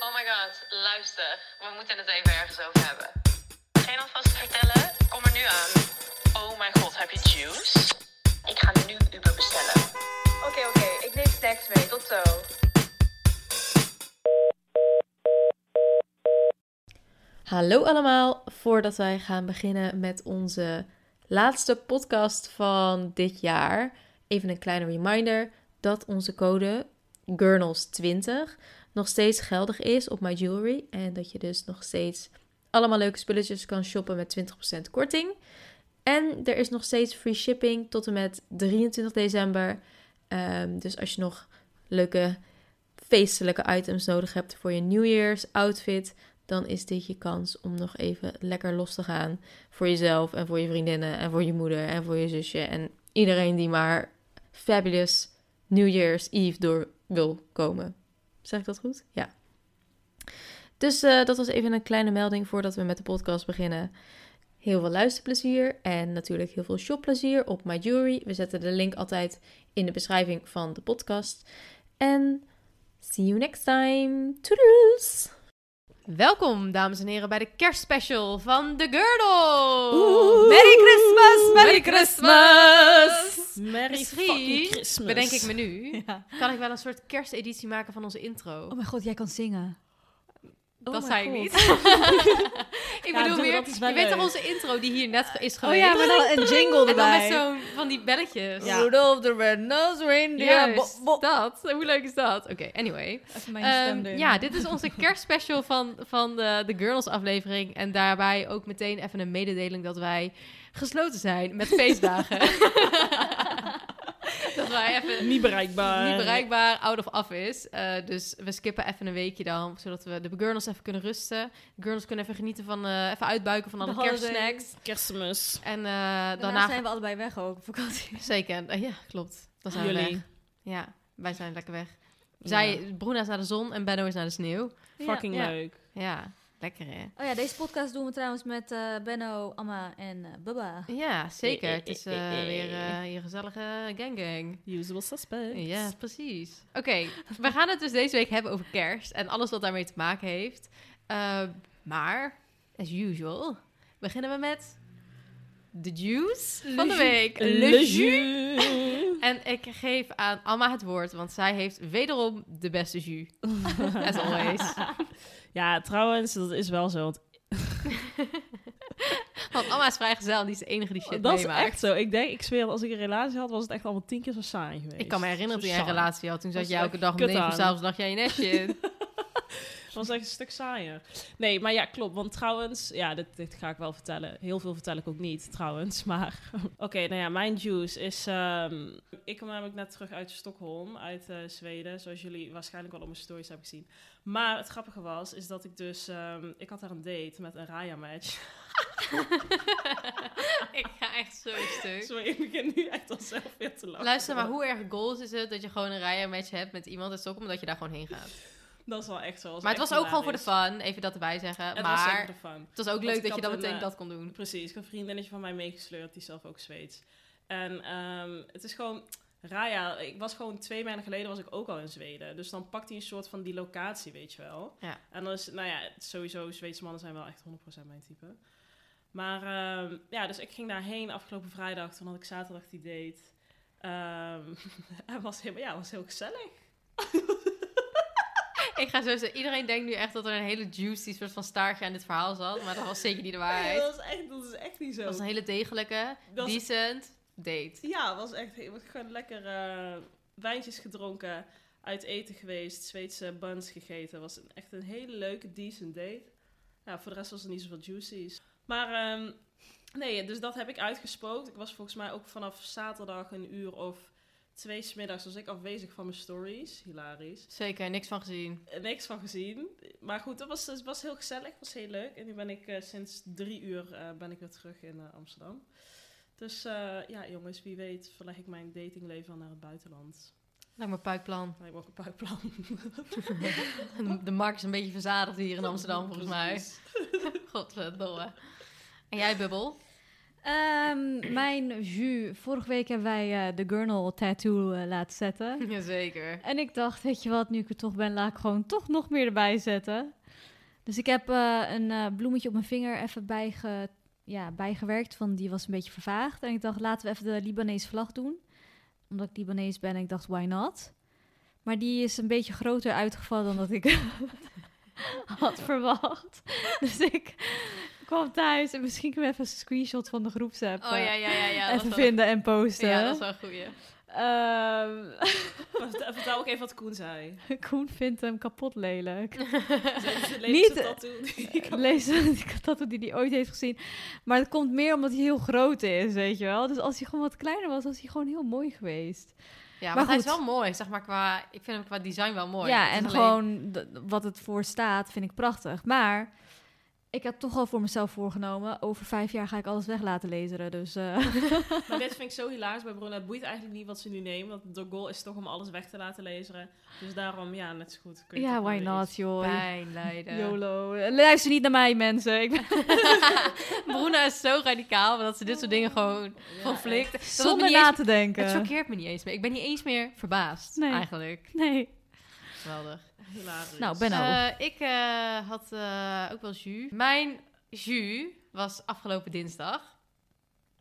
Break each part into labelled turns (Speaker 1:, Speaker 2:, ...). Speaker 1: Oh my god, luister. We moeten het even ergens over hebben. Geen alvast vertellen? Kom er nu aan. Oh my god, heb je juice? Ik ga nu Uber bestellen. Oké, oké. Ik neem snacks mee. Tot zo.
Speaker 2: Hallo allemaal, voordat wij gaan beginnen met onze laatste podcast van dit jaar, even een kleine reminder dat onze code Gurnals20 nog steeds geldig is op My Jewelry en dat je dus nog steeds allemaal leuke spulletjes kan shoppen met 20% korting. En er is nog steeds free shipping tot en met 23 december. Ehm, dus als je nog leuke feestelijke items nodig hebt voor je Year's outfit, dan is dit je kans om nog even lekker los te gaan voor jezelf en voor je vriendinnen en voor je moeder en voor je zusje en iedereen die maar fabulous New Year's Eve door wil komen. Zeg ik dat goed? Ja. Dus eh, dat was even een kleine melding voordat we met de podcast beginnen. Heel veel luisterplezier en natuurlijk heel veel shopplezier op My Jewelry. We zetten de link altijd in de beschrijving van de podcast. En see you next time. Toodles!
Speaker 3: Welkom, dames en heren, bij de kerstspecial van The Girdle.
Speaker 2: Merry Christmas,
Speaker 3: Merry Christmas!
Speaker 2: Merry
Speaker 3: Misschien bedenk ik me nu, kan ik wel een soort kersteditie maken van onze intro.
Speaker 4: Oh mijn god, jij kan zingen. Oh
Speaker 3: dat
Speaker 2: Oh my
Speaker 3: zei
Speaker 2: God.
Speaker 3: ik niet. ik
Speaker 4: Ja,
Speaker 3: bedoel
Speaker 4: doe,
Speaker 3: weer,
Speaker 4: dat is wel
Speaker 3: je weet toch
Speaker 4: leuk.
Speaker 3: onze intro die hier net ge- is
Speaker 4: Oh
Speaker 3: geweest?
Speaker 4: ja, maar dan een jingle
Speaker 3: en dan
Speaker 4: erbij.
Speaker 3: met zo'n van die belletjes.
Speaker 4: Ja.
Speaker 2: Rudolph the Red-Nosed Reindeer.
Speaker 3: Juist,
Speaker 2: Bo- bo-
Speaker 3: dat. Hoe leuk is dat? Oké, anyway.
Speaker 4: Even mijn
Speaker 3: Ehm, ja, dit is onze kerstspecial van, van de, de Girls aflevering. En daarbij ook meteen even een mededeling dat wij gesloten zijn met feestdagen. dat wij even
Speaker 4: Niet bereikbaar.
Speaker 3: niet bereikbaar, out of office. Eh, dus we skippen even een weekje dan, zodat we de Girls even kunnen rusten. De Girls kunnen even genieten van, eh, even uitbuiken van alle
Speaker 4: holiday.
Speaker 3: kerstsnacks.
Speaker 5: Kerstmis.
Speaker 3: En eh,
Speaker 4: Daarna
Speaker 3: daarna...
Speaker 4: zijn we allebei weg ook op vakantie.
Speaker 3: Zeker, Eh, ja, klopt. Dan zijn we
Speaker 5: Jullie.
Speaker 3: weg. Ja, wij zijn lekker weg. Zij, Bruna is naar de zon en Benno is naar de sneeuw.
Speaker 5: Fucking
Speaker 4: ja.
Speaker 5: leuk.
Speaker 3: Ja, lekker hè?
Speaker 4: Oh ja, deze podcast doen we trouwens met eh, Benno, Amma en eh, Bubba.
Speaker 3: Ja, zeker.
Speaker 5: eh,
Speaker 3: Het is
Speaker 5: eh,
Speaker 3: eh,
Speaker 5: eh,
Speaker 3: weer
Speaker 5: eh.
Speaker 3: eh, je gezellige gang gang.
Speaker 5: Usual suspect.
Speaker 3: Ja, precies. Oké, we gaan het dus deze week hebben over kerst en alles wat daarmee te maken heeft. Eh, maar, as usual, beginnen we met de juice van de week. Le jus. En ik geef aan Amma het woord, want zij heeft wederom de beste jus. As always.
Speaker 5: Ja, trouwens, dat is wel zo. Want
Speaker 3: Want Amma is vrijgezel en die is de enige die shit
Speaker 5: dat is
Speaker 3: meemaakt.
Speaker 5: echt zo. Ik denk, ik zweer, als ik een relatie had, was het echt allemaal tien keer zo saai geweest.
Speaker 3: Ik kan me herinneren
Speaker 5: Zo
Speaker 3: toen jij een
Speaker 5: saai.
Speaker 3: relatie had. Toen zat
Speaker 5: Dat
Speaker 3: jij
Speaker 5: is
Speaker 3: elke
Speaker 5: echt
Speaker 3: dag om
Speaker 5: kut
Speaker 3: negen uur
Speaker 5: aan.
Speaker 3: s'avonds lag jij je netje in.
Speaker 5: Het was echt een stuk saaier. Nee, maar ja, klopt. Want trouwens, ja, dit, dit ga ik wel vertellen. Heel veel vertel ik ook niet, trouwens. Maar oké, nou ja, mijn juice is... ehm, ik kom namelijk net terug uit Stockholm, uit eh, Zweden. Zoals jullie waarschijnlijk al op mijn stories hebben gezien. Maar het grappige was, is dat ik dus... ehm, ik had daar een date met een Raya-match.
Speaker 3: ik ga echt zo stuk.
Speaker 5: Sorry, ik begin nu echt al zelf weer te lachen.
Speaker 3: Luister, maar hoe erg goals is het dat je gewoon een rijenmatch hebt met iemand uit Stockholm, dat je daar gewoon heen gaat?
Speaker 5: Dat is wel echt zo.
Speaker 3: maar het was ook gewoon voor de fun, even dat erbij zeggen.
Speaker 5: Het was
Speaker 3: maar
Speaker 5: zeker de fun.
Speaker 3: het was ook
Speaker 5: Want
Speaker 3: leuk
Speaker 5: ik
Speaker 3: dat je
Speaker 5: had
Speaker 3: dan
Speaker 5: een,
Speaker 3: meteen
Speaker 5: eh,
Speaker 3: dat kon doen.
Speaker 5: Precies, ik heb een vriendinnetje van mij meegesleurd, die is zelf ook Zweeds. En ehm, het is gewoon, Raya, ik was gewoon twee maanden geleden was ik ook al in Zweden. Dus dan pakt hij een soort van die locatie, weet je wel.
Speaker 3: Ja.
Speaker 5: En dan is, nou ja, sowieso, Zweedse mannen zijn wel echt 100% mijn type. Maar ehm, ja, dus ik ging daarheen afgelopen vrijdag, toen had ik zaterdag die date. Ehm, en was helemaal, ja, was heel gezellig.
Speaker 3: Ik ga zo zeggen, iedereen denkt nu echt dat er een hele juicy soort van staartje aan dit verhaal zat. Maar dat was zeker niet de
Speaker 5: Nee,
Speaker 3: waarheid.
Speaker 5: dat, is echt, dat is echt niet zo.
Speaker 3: Dat was een hele degelijke,
Speaker 5: Dat is-
Speaker 3: decent date.
Speaker 5: Ja, het was echt heel, gewoon lekker eh, wijntjes gedronken, uit eten geweest, Zweedse buns gegeten. was een- echt een hele leuke, decent date. Ja, voor de rest was er niet zoveel juicies. Maar ehm, nee, dus dat heb ik uitgespookt. Ik was volgens mij ook vanaf zaterdag een uur of twee smiddags was ik afwezig van mijn stories. Hilarisch.
Speaker 3: Zeker, niks van gezien.
Speaker 5: Eh, Niks van gezien. Maar goed, het was, het was heel gezellig, het was heel leuk. En nu ben ik eh, sinds drie uur eh, ben ik weer terug in eh, Amsterdam. Dus eh, ja, jongens, wie weet verleg ik mijn datingleven naar het buitenland.
Speaker 3: Lijkt me puikplan.
Speaker 5: Dan heb ik ook een paar plannen.
Speaker 3: De markt is een beetje verzadigd hier in Amsterdam, volgens mij.
Speaker 5: Precies.
Speaker 3: Godverdomme. En jij, Bubbel?
Speaker 4: Ehm, mijn jus. Vorige week hebben wij eh, de Gurnal tattoo eh, laten zetten.
Speaker 3: Jazeker.
Speaker 4: En ik dacht, weet je wat, nu ik er toch ben, laat ik gewoon toch nog meer erbij zetten. Dus ik heb eh, een eh, bloemetje op mijn vinger even bijge, ja, bijgewerkt, van die was een beetje vervaagd. En ik dacht, laten we even de Libanese vlag doen. Omdat ik Libanees ben en ik dacht, why not? Maar die is een beetje groter uitgevallen dan dat ik had verwacht. Dus ik kwam thuis en misschien kunnen we even een screenshot van de groepsapp
Speaker 3: Oh ja,
Speaker 4: eh,
Speaker 3: ja, ja. ja
Speaker 4: even
Speaker 3: dat is wel-
Speaker 4: vinden en posten.
Speaker 3: Ja, dat is wel een goeie.
Speaker 4: Ehm,
Speaker 5: Vertel, vertel ook even wat Koen zei.
Speaker 4: Koen vindt hem kapot lelijk.
Speaker 5: Niet
Speaker 4: Niet, eh,
Speaker 5: tattoo. die ik had.
Speaker 4: Lees die tattoo die hij ooit heeft gezien. Maar het komt meer omdat hij heel groot is, weet je wel. Dus als hij gewoon wat kleiner was, was hij gewoon heel mooi geweest.
Speaker 3: Ja, maar,
Speaker 4: Maar
Speaker 3: hij is
Speaker 4: goed.
Speaker 3: wel mooi, zeg maar, qua... Ik vind hem qua design wel mooi.
Speaker 4: ja,
Speaker 3: Het is
Speaker 4: en
Speaker 3: alleen-
Speaker 4: gewoon d- wat het voor staat, vind ik prachtig. Maar ik heb toch al voor mezelf voorgenomen, over vijf jaar ga ik alles weg laten lezen. Dus eh,
Speaker 5: Maar dit vind ik zo hilarisch bij Bruna. Het boeit eigenlijk niet wat ze nu nemen. Want de goal is toch om alles weg te laten lezen. Dus daarom, ja, net zo goed. kun je
Speaker 4: ja,
Speaker 5: toch
Speaker 4: why
Speaker 5: gewoon weer
Speaker 4: not,
Speaker 5: iets-
Speaker 4: joh.
Speaker 3: Pijn lijden.
Speaker 4: YOLO. Luister niet naar mij, mensen. Ik ben
Speaker 3: Bruna is zo radicaal dat ze dit soort dingen gewoon
Speaker 5: Ja,
Speaker 3: conflict. Dat het me
Speaker 4: zonder
Speaker 3: niet eens-
Speaker 4: na te denken.
Speaker 3: Het choqueert me niet eens meer. Ik ben niet eens meer verbaasd,
Speaker 4: Nee.
Speaker 3: eigenlijk.
Speaker 4: Nee.
Speaker 3: Geweldig.
Speaker 5: echt Hilarisch.
Speaker 4: Nou, Benno.
Speaker 3: Eh, ik eh, had eh, ook wel jus. Mijn jus was afgelopen dinsdag.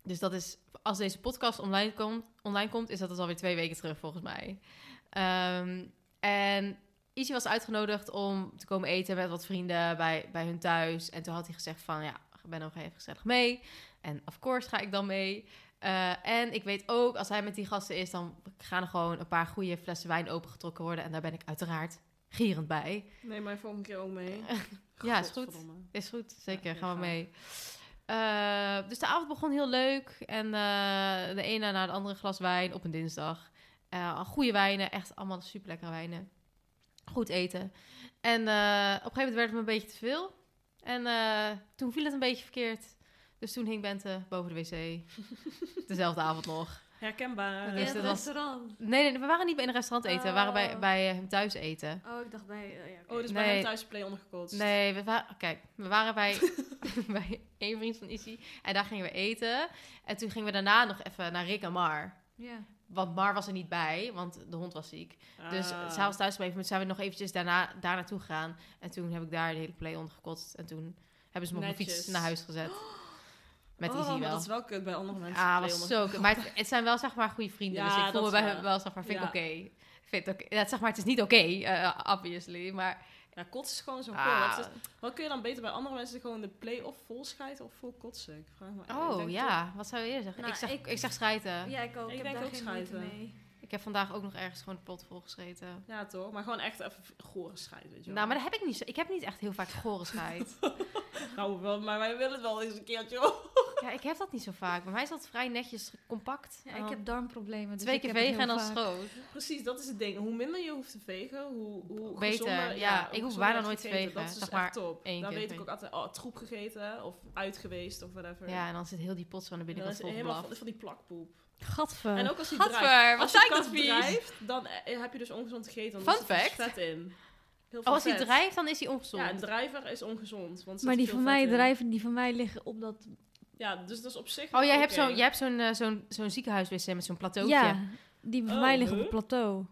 Speaker 3: Dus dat is, als deze podcast online komt, online komt is dat dus alweer twee weken terug, volgens mij. Ehm, en Izzy was uitgenodigd om te komen eten met wat vrienden bij, bij hun thuis. En toen had hij gezegd van, ja, ben nog even gezellig mee. En of course ga ik dan mee. Eh, en ik weet ook, als hij met die gasten is, dan gaan er gewoon een paar goede flessen wijn opengetrokken worden. En daar ben ik uiteraard gierend bij.
Speaker 5: Neem mij volgende keer ook mee.
Speaker 3: Ja, is goed.
Speaker 5: Godverdomme.
Speaker 3: Is goed, zeker.
Speaker 5: Ja,
Speaker 3: gaan we
Speaker 5: graag.
Speaker 3: mee. Eh, dus de avond begon heel leuk. En eh, de ene na de andere glas wijn op een dinsdag. Eh, al goede wijnen, echt allemaal super lekkere wijnen. Goed eten. En eh, op een gegeven moment werd het me een beetje te veel. En eh, toen viel het een beetje verkeerd. Dus toen hing Bente boven de wc. Dezelfde avond nog.
Speaker 4: eh,
Speaker 5: Herkenbaar.
Speaker 3: Dus dat was-
Speaker 4: restaurant.
Speaker 3: Nee, nee, we waren niet in een restaurant eten. We waren bij,
Speaker 4: Oh.
Speaker 3: bij hem thuis eten.
Speaker 4: Oh, ik dacht bij... ja,
Speaker 5: Oh, dus
Speaker 3: Nee.
Speaker 5: bij hem thuis play ondergekotst.
Speaker 3: Nee, we waren, kijk, we waren bij, bij één vriend van Issy en daar gingen we eten. En toen gingen we daarna nog even naar Rick en Mar. Want Mar was er niet bij, want de hond was ziek.
Speaker 5: Ah.
Speaker 3: Dus zij was thuis gebleven, maar toen zijn we nog eventjes daarna, daar naartoe gegaan. En toen heb ik daar de hele play ondergekotst. En toen hebben ze me op mijn
Speaker 5: Netjes.
Speaker 3: fiets naar huis gezet. Met
Speaker 5: oh,
Speaker 3: Izzy
Speaker 5: maar
Speaker 3: wel.
Speaker 5: dat is wel kut bij andere mensen.
Speaker 3: Ah,
Speaker 5: play
Speaker 3: was
Speaker 5: onder-
Speaker 3: zo kut. Maar het, het zijn wel zeg maar goede vrienden.
Speaker 5: Ja,
Speaker 3: dus ik voel
Speaker 5: dat
Speaker 3: me
Speaker 5: is
Speaker 3: bij
Speaker 5: waar.
Speaker 3: hem wel zeg maar, vind ik
Speaker 5: Ja.
Speaker 3: oké. Vind ik oké. Ja, zeg maar, het is niet oké, eh, obviously. Maar
Speaker 5: Ja, kotsen is gewoon zo
Speaker 3: ah,
Speaker 5: cool. Wat kun je dan beter bij andere mensen gewoon de play of vol scheiden of vol kotsen? Ik vraag me echt- ik
Speaker 3: Oh
Speaker 5: denk
Speaker 3: ja, wat zou je eerder zeggen?
Speaker 4: Nou,
Speaker 3: ik, zeg, ik,
Speaker 4: ik-
Speaker 3: zeg schijten.
Speaker 4: ik
Speaker 5: Ik
Speaker 4: ook.
Speaker 5: Ik heb denk daar ook geen moeite schijten. mee.
Speaker 3: Ik heb vandaag ook nog ergens gewoon de pot vol gescheten.
Speaker 5: toch- Ja toch, maar gewoon echt even gore scheid, weet je wel.
Speaker 3: Nou, maar dat heb ik niet. zo- Ik heb niet echt heel vaak gore scheid.
Speaker 5: Nou, wel, maar wij willen het wel eens een keertje. hoor.
Speaker 3: ja, ik heb dat niet zo vaak. Bij mij is dat vrij netjes compact.
Speaker 4: Ja,
Speaker 3: En
Speaker 4: ik
Speaker 3: dan
Speaker 4: heb darmproblemen. Dus
Speaker 3: Oh. twee
Speaker 4: ik
Speaker 3: keer
Speaker 4: heb het
Speaker 3: vegen en dan
Speaker 4: heel vaak.
Speaker 3: schoot.
Speaker 5: Precies, dat is het ding. Hoe minder je hoeft te vegen, hoe, hoe
Speaker 3: Beter,
Speaker 5: gezonder-
Speaker 3: ja.
Speaker 5: hoe
Speaker 3: Ik hoef
Speaker 5: gezonder
Speaker 3: bijna
Speaker 5: je
Speaker 3: nooit te
Speaker 5: gegeten.
Speaker 3: vegen,
Speaker 5: Dat is
Speaker 3: zeg
Speaker 5: dus echt
Speaker 3: maar
Speaker 5: top.
Speaker 3: één
Speaker 5: Dan
Speaker 3: keer
Speaker 5: weet ik
Speaker 3: vegen.
Speaker 5: ook altijd, oh, troep gegeten of uit geweest of whatever.
Speaker 3: Ja, en dan zit heel die pot zo aan
Speaker 5: En dan
Speaker 3: de binnenkant
Speaker 5: is het
Speaker 3: vol
Speaker 5: helemaal
Speaker 3: blaf. Eh,
Speaker 5: van, van die plakpoep.
Speaker 4: Gadver.
Speaker 5: En ook als hij
Speaker 3: Gadver,
Speaker 5: drijft.
Speaker 3: wat
Speaker 5: Als
Speaker 3: zijn
Speaker 5: hij
Speaker 3: dat
Speaker 5: kat
Speaker 3: vies?
Speaker 5: drijft, dan eh, heb je dus ongezond gegeten.
Speaker 3: Fun
Speaker 5: Want er zit dus
Speaker 3: fact.
Speaker 5: vet in. Heel
Speaker 3: Oh,
Speaker 5: veel
Speaker 3: als hij
Speaker 5: vet.
Speaker 3: drijft, dan is hij ongezond.
Speaker 5: Ja, een drijver is ongezond. Want er zit
Speaker 4: maar die
Speaker 5: veel
Speaker 4: van
Speaker 5: vet
Speaker 4: mij
Speaker 5: in.
Speaker 4: drijven, die van mij liggen op dat...
Speaker 5: Ja, dus dat is op zich
Speaker 3: oh, jij hebt
Speaker 5: zo
Speaker 3: zo'n jij hebt zo'n eh, zo'n zo'n ziekenhuiswc met zo'n plateautje.
Speaker 4: Ja, die van
Speaker 5: Oh,
Speaker 4: mij liggen op
Speaker 5: huh?
Speaker 4: het plateau.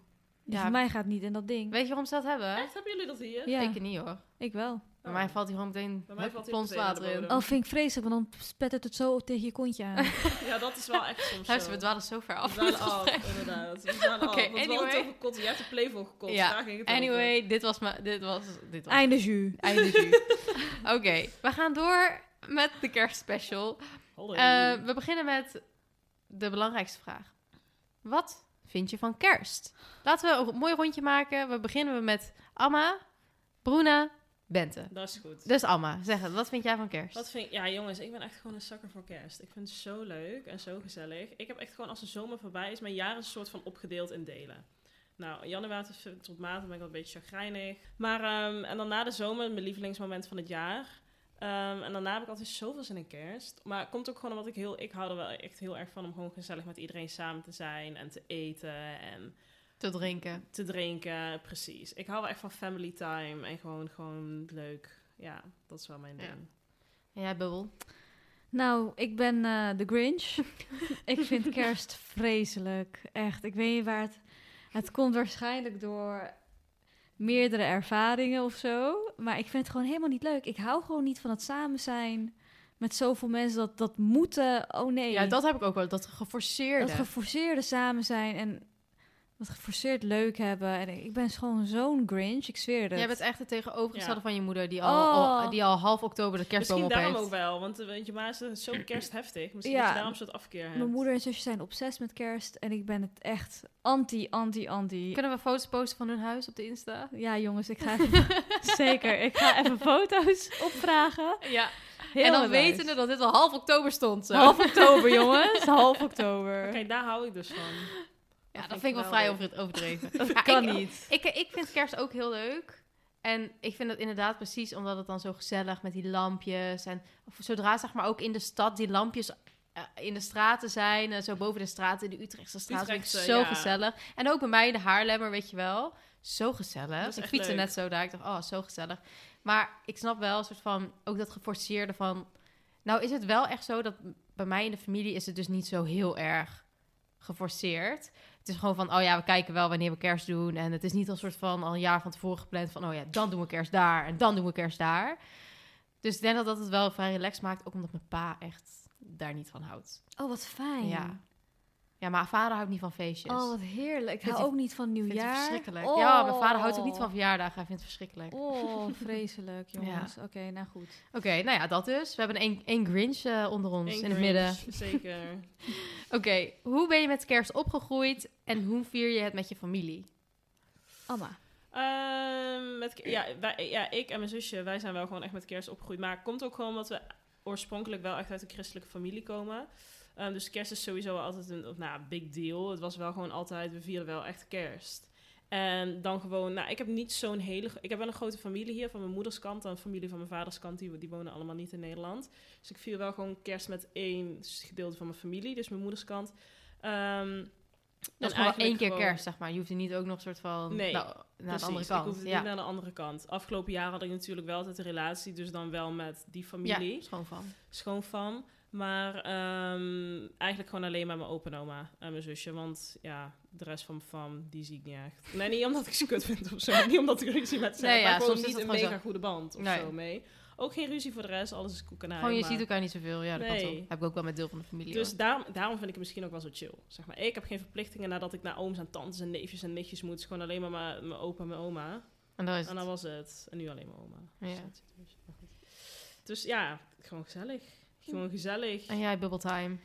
Speaker 4: Ja. Voor mij gaat het niet in dat ding.
Speaker 3: Weet je waarom ze dat hebben?
Speaker 5: Echt, hebben jullie dat hier?
Speaker 4: Ja,
Speaker 3: Ik niet hoor.
Speaker 4: ik wel.
Speaker 3: Bij mij valt hij gewoon meteen
Speaker 5: Bij mij
Speaker 3: hup,
Speaker 5: valt hij
Speaker 3: plons
Speaker 5: meteen aan de
Speaker 3: water in.
Speaker 5: bodem.
Speaker 4: Oh, vind ik vreselijk, want dan spettert het zo tegen je kontje aan.
Speaker 5: Ja, dat is wel echt soms
Speaker 3: Luister,
Speaker 5: zo.
Speaker 3: we dwalen zo ver
Speaker 5: We
Speaker 3: af.
Speaker 5: dwalen af, inderdaad. We dwalen
Speaker 3: Oké,
Speaker 5: af. Want we hadden het
Speaker 3: anyway.
Speaker 5: over kotten. Jij hebt de Playboy gekotst.
Speaker 3: Ja,
Speaker 5: Daar ging het over.
Speaker 3: Anyway, dit was mijn... Dit was... Dit was
Speaker 4: Einde jus.
Speaker 3: einde jus. Oké, we gaan door met de kerstspecial.
Speaker 5: Hallo.
Speaker 3: Eh, we beginnen met de belangrijkste vraag. Wat vind je van kerst? Laten we een ro- mooi rondje maken. We beginnen met Amma, Bruna, Bente.
Speaker 5: dat is goed.
Speaker 3: Dus Amma, zeg het. Wat vind jij van kerst?
Speaker 5: Wat vind ik, ja jongens, ik ben echt gewoon een zakker voor kerst. Ik vind het zo leuk en zo gezellig. Ik heb echt gewoon als de zomer voorbij is, mijn jaar is een soort van opgedeeld in delen. Nou, januari tot- tot maart ben ik wel een beetje chagrijnig. Maar, ehm, en dan na de zomer, mijn lievelingsmoment van het jaar. Ehm, en daarna heb ik altijd zoveel zin in kerst. Maar het komt ook gewoon omdat ik heel, ik hou er wel echt heel erg van om gewoon gezellig met iedereen samen te zijn en te eten en
Speaker 3: Te drinken.
Speaker 5: te drinken. Precies. Ik hou wel echt van family time en gewoon, gewoon leuk. Ja, dat is wel mijn
Speaker 3: Ja.
Speaker 5: ding.
Speaker 3: En jij, Bubbel?
Speaker 4: Nou, ik ben eh, de Grinch. ik vind kerst vreselijk. Echt, ik weet niet waar het... Het komt waarschijnlijk door meerdere ervaringen of zo. Maar ik vind het gewoon helemaal niet leuk. Ik hou gewoon niet van het samen zijn met zoveel mensen. Dat, dat moeten, oh nee.
Speaker 3: Ja, dat heb ik ook wel. Dat geforceerde.
Speaker 4: dat geforceerde samen zijn en dat geforceerd leuk hebben. En ik, ik ben gewoon zo'n Grinch, ik zweer het.
Speaker 3: Jij bent echt het tegenovergestelde
Speaker 5: Ja.
Speaker 3: van je moeder, die al, al-
Speaker 4: Oh.
Speaker 3: die al half oktober de kerstboom
Speaker 5: Misschien
Speaker 3: op
Speaker 5: daarom
Speaker 3: heeft.
Speaker 5: ook wel, want eh, weet je ma is eh, zo kerstheftig. Misschien
Speaker 4: Ja.
Speaker 5: dat je daarom zo'n afkeer hebt.
Speaker 4: Mijn moeder en zusje zijn obsessief met kerst en ik ben het echt anti, anti, anti.
Speaker 3: Kunnen we foto's posten van hun huis op de Insta?
Speaker 4: Ja jongens, ik ga even... Zeker, ik ga even foto's opvragen.
Speaker 3: Ja.
Speaker 4: Heel
Speaker 3: en dan
Speaker 4: het
Speaker 3: weten we
Speaker 4: huis.
Speaker 3: dat dit al half oktober stond. Zo.
Speaker 4: Half oktober jongens, half oktober.
Speaker 5: Kijk, daar hou ik dus van.
Speaker 3: Ja,
Speaker 5: Dat
Speaker 3: dat
Speaker 5: vind
Speaker 3: vind ik wel
Speaker 5: ik
Speaker 3: vrij
Speaker 5: wel
Speaker 3: over overdreven.
Speaker 4: Dat
Speaker 3: Ja,
Speaker 4: kan
Speaker 3: ik-
Speaker 4: niet.
Speaker 3: Ik, ik vind kerst ook heel leuk. En ik vind het inderdaad precies omdat het dan zo gezellig met die lampjes. En of zodra zeg maar ook in de stad die lampjes eh, in de straten zijn. eh, zo boven de straten, in de Utrechtse straat. vind ik
Speaker 5: Utrechtse,
Speaker 3: zo
Speaker 5: ja.
Speaker 3: gezellig. En ook bij mij in de Haarlemmer, weet je wel. Zo gezellig.
Speaker 5: Dat is
Speaker 3: ik
Speaker 5: echt
Speaker 3: fietste
Speaker 5: leuk.
Speaker 3: net zo daar. Ik dacht, oh, zo gezellig. Maar ik snap wel een soort van, ook dat geforceerde van... Nou is het wel echt zo dat bij mij in de familie is het dus niet zo heel erg geforceerd. Het is gewoon van, oh ja, we kijken wel wanneer we kerst doen. En het is niet een soort van al een jaar van tevoren gepland van, oh ja, dan doen we kerst daar en dan doen we kerst daar. Dus ik denk dat dat het wel vrij relaxed maakt, ook omdat mijn pa echt daar niet van houdt.
Speaker 4: Oh, wat fijn.
Speaker 3: Ja. Ja, maar vader houdt niet van feestjes.
Speaker 4: Oh, wat heerlijk. Ik
Speaker 3: Vindt
Speaker 4: hou
Speaker 3: hij-
Speaker 4: ook niet van
Speaker 3: Vindt hij
Speaker 4: nieuwjaar.
Speaker 3: verschrikkelijk.
Speaker 4: Oh.
Speaker 3: Ja, mijn vader houdt ook niet van verjaardagen. Hij vindt het verschrikkelijk.
Speaker 4: Oh, vreselijk jongens. Oké, nou goed.
Speaker 3: Oké, nou ja, dat dus. We hebben één, één Grinch eh, onder ons
Speaker 5: Eén
Speaker 3: in het
Speaker 5: Grinch,
Speaker 3: midden.
Speaker 5: Zeker.
Speaker 3: Oké, hoe ben je met kerst opgegroeid en hoe vier je het met je familie?
Speaker 4: Amma.
Speaker 5: Ehm, met, ke- ja, wij, ja, ik en mijn zusje, wij zijn wel gewoon echt met kerst opgegroeid. Maar het komt ook gewoon omdat we oorspronkelijk wel echt uit een christelijke familie komen. Ehm, dus kerst is sowieso wel altijd een of, nou, big deal. Het was wel gewoon altijd, we vierden wel echt kerst. En dan gewoon, nou, ik heb niet zo'n hele... gro- Ik heb wel een grote familie hier van mijn moeders kant. En familie van mijn vaders kant, die, die wonen allemaal niet in Nederland. Dus ik vier wel gewoon kerst met één gedeelte van mijn familie. Dus mijn moeders kant. Ehm,
Speaker 3: Dat
Speaker 5: en
Speaker 3: is gewoon
Speaker 5: eigenlijk
Speaker 3: één keer
Speaker 5: gewoon-
Speaker 3: kerst, zeg maar. Je hoeft er niet ook nog soort van
Speaker 5: Nee,
Speaker 3: nou, naar de andere
Speaker 5: Precies, Ik
Speaker 3: kant.
Speaker 5: hoefde
Speaker 3: ja.
Speaker 5: niet naar de andere kant. Afgelopen jaar had ik natuurlijk wel altijd een relatie, dus dan wel met die familie.
Speaker 3: ja, schoon van.
Speaker 5: Schoon van. Maar ehm, eigenlijk gewoon alleen maar mijn opa en oma en mijn zusje. Want ja, de rest van mijn fam, die zie ik niet echt. Nee, niet omdat ik ze kut vind of zo. Niet omdat ik ruzie met ze
Speaker 3: Nee,
Speaker 5: heb, maar
Speaker 3: ja,
Speaker 5: gewoon
Speaker 3: soms is
Speaker 5: niet
Speaker 3: dat
Speaker 5: een
Speaker 3: gewoon
Speaker 5: mega goede band of
Speaker 3: Nee.
Speaker 5: zo mee. Ook geen ruzie voor de rest, alles is koek en ei,
Speaker 3: Gewoon, je
Speaker 5: maar-
Speaker 3: ziet elkaar niet zoveel. Ja, dat
Speaker 5: Nee.
Speaker 3: klopt wel. Heb ik ook wel met deel van de familie.
Speaker 5: dus
Speaker 3: hoor.
Speaker 5: daarom, daarom vind ik het misschien ook wel zo chill. Zeg maar. Ik heb geen verplichtingen nadat ik naar ooms en tantes en neefjes en nichtjes moet. Het is gewoon alleen maar mijn mijn opa en mijn oma.
Speaker 3: en dan is
Speaker 5: En
Speaker 3: het-
Speaker 5: dan was het. En nu alleen mijn oma. Dus,
Speaker 3: Ja.
Speaker 5: dat is dus, maar goed. dus ja, gewoon gezellig. Gewoon gezellig.
Speaker 3: En jij, bubble time.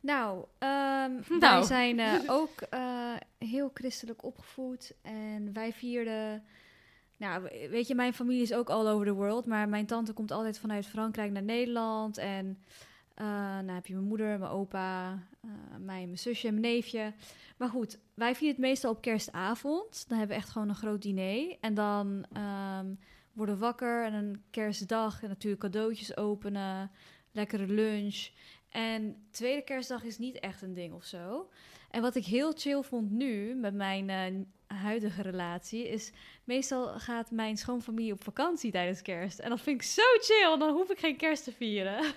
Speaker 4: Nou, ehm, wij
Speaker 3: Nou.
Speaker 4: zijn eh, ook eh, heel christelijk opgevoed en wij vierden. Nou, we- weet je, mijn familie is ook all over the world, maar mijn tante komt altijd vanuit Frankrijk naar Nederland. En eh nou heb je mijn moeder, mijn opa, eh, mij, en mijn zusje en mijn neefje. Maar goed, wij vieren het meestal op kerstavond. Dan hebben we echt gewoon een groot diner. En dan ehm, worden we wakker en een kerstdag en natuurlijk cadeautjes openen, lekkere lunch. En tweede kerstdag is niet echt een ding of zo. En wat ik heel chill vond nu met mijn eh, huidige relatie is... meestal gaat mijn schoonfamilie op vakantie tijdens kerst. En dat vind ik zo chill, dan hoef ik geen kerst te vieren.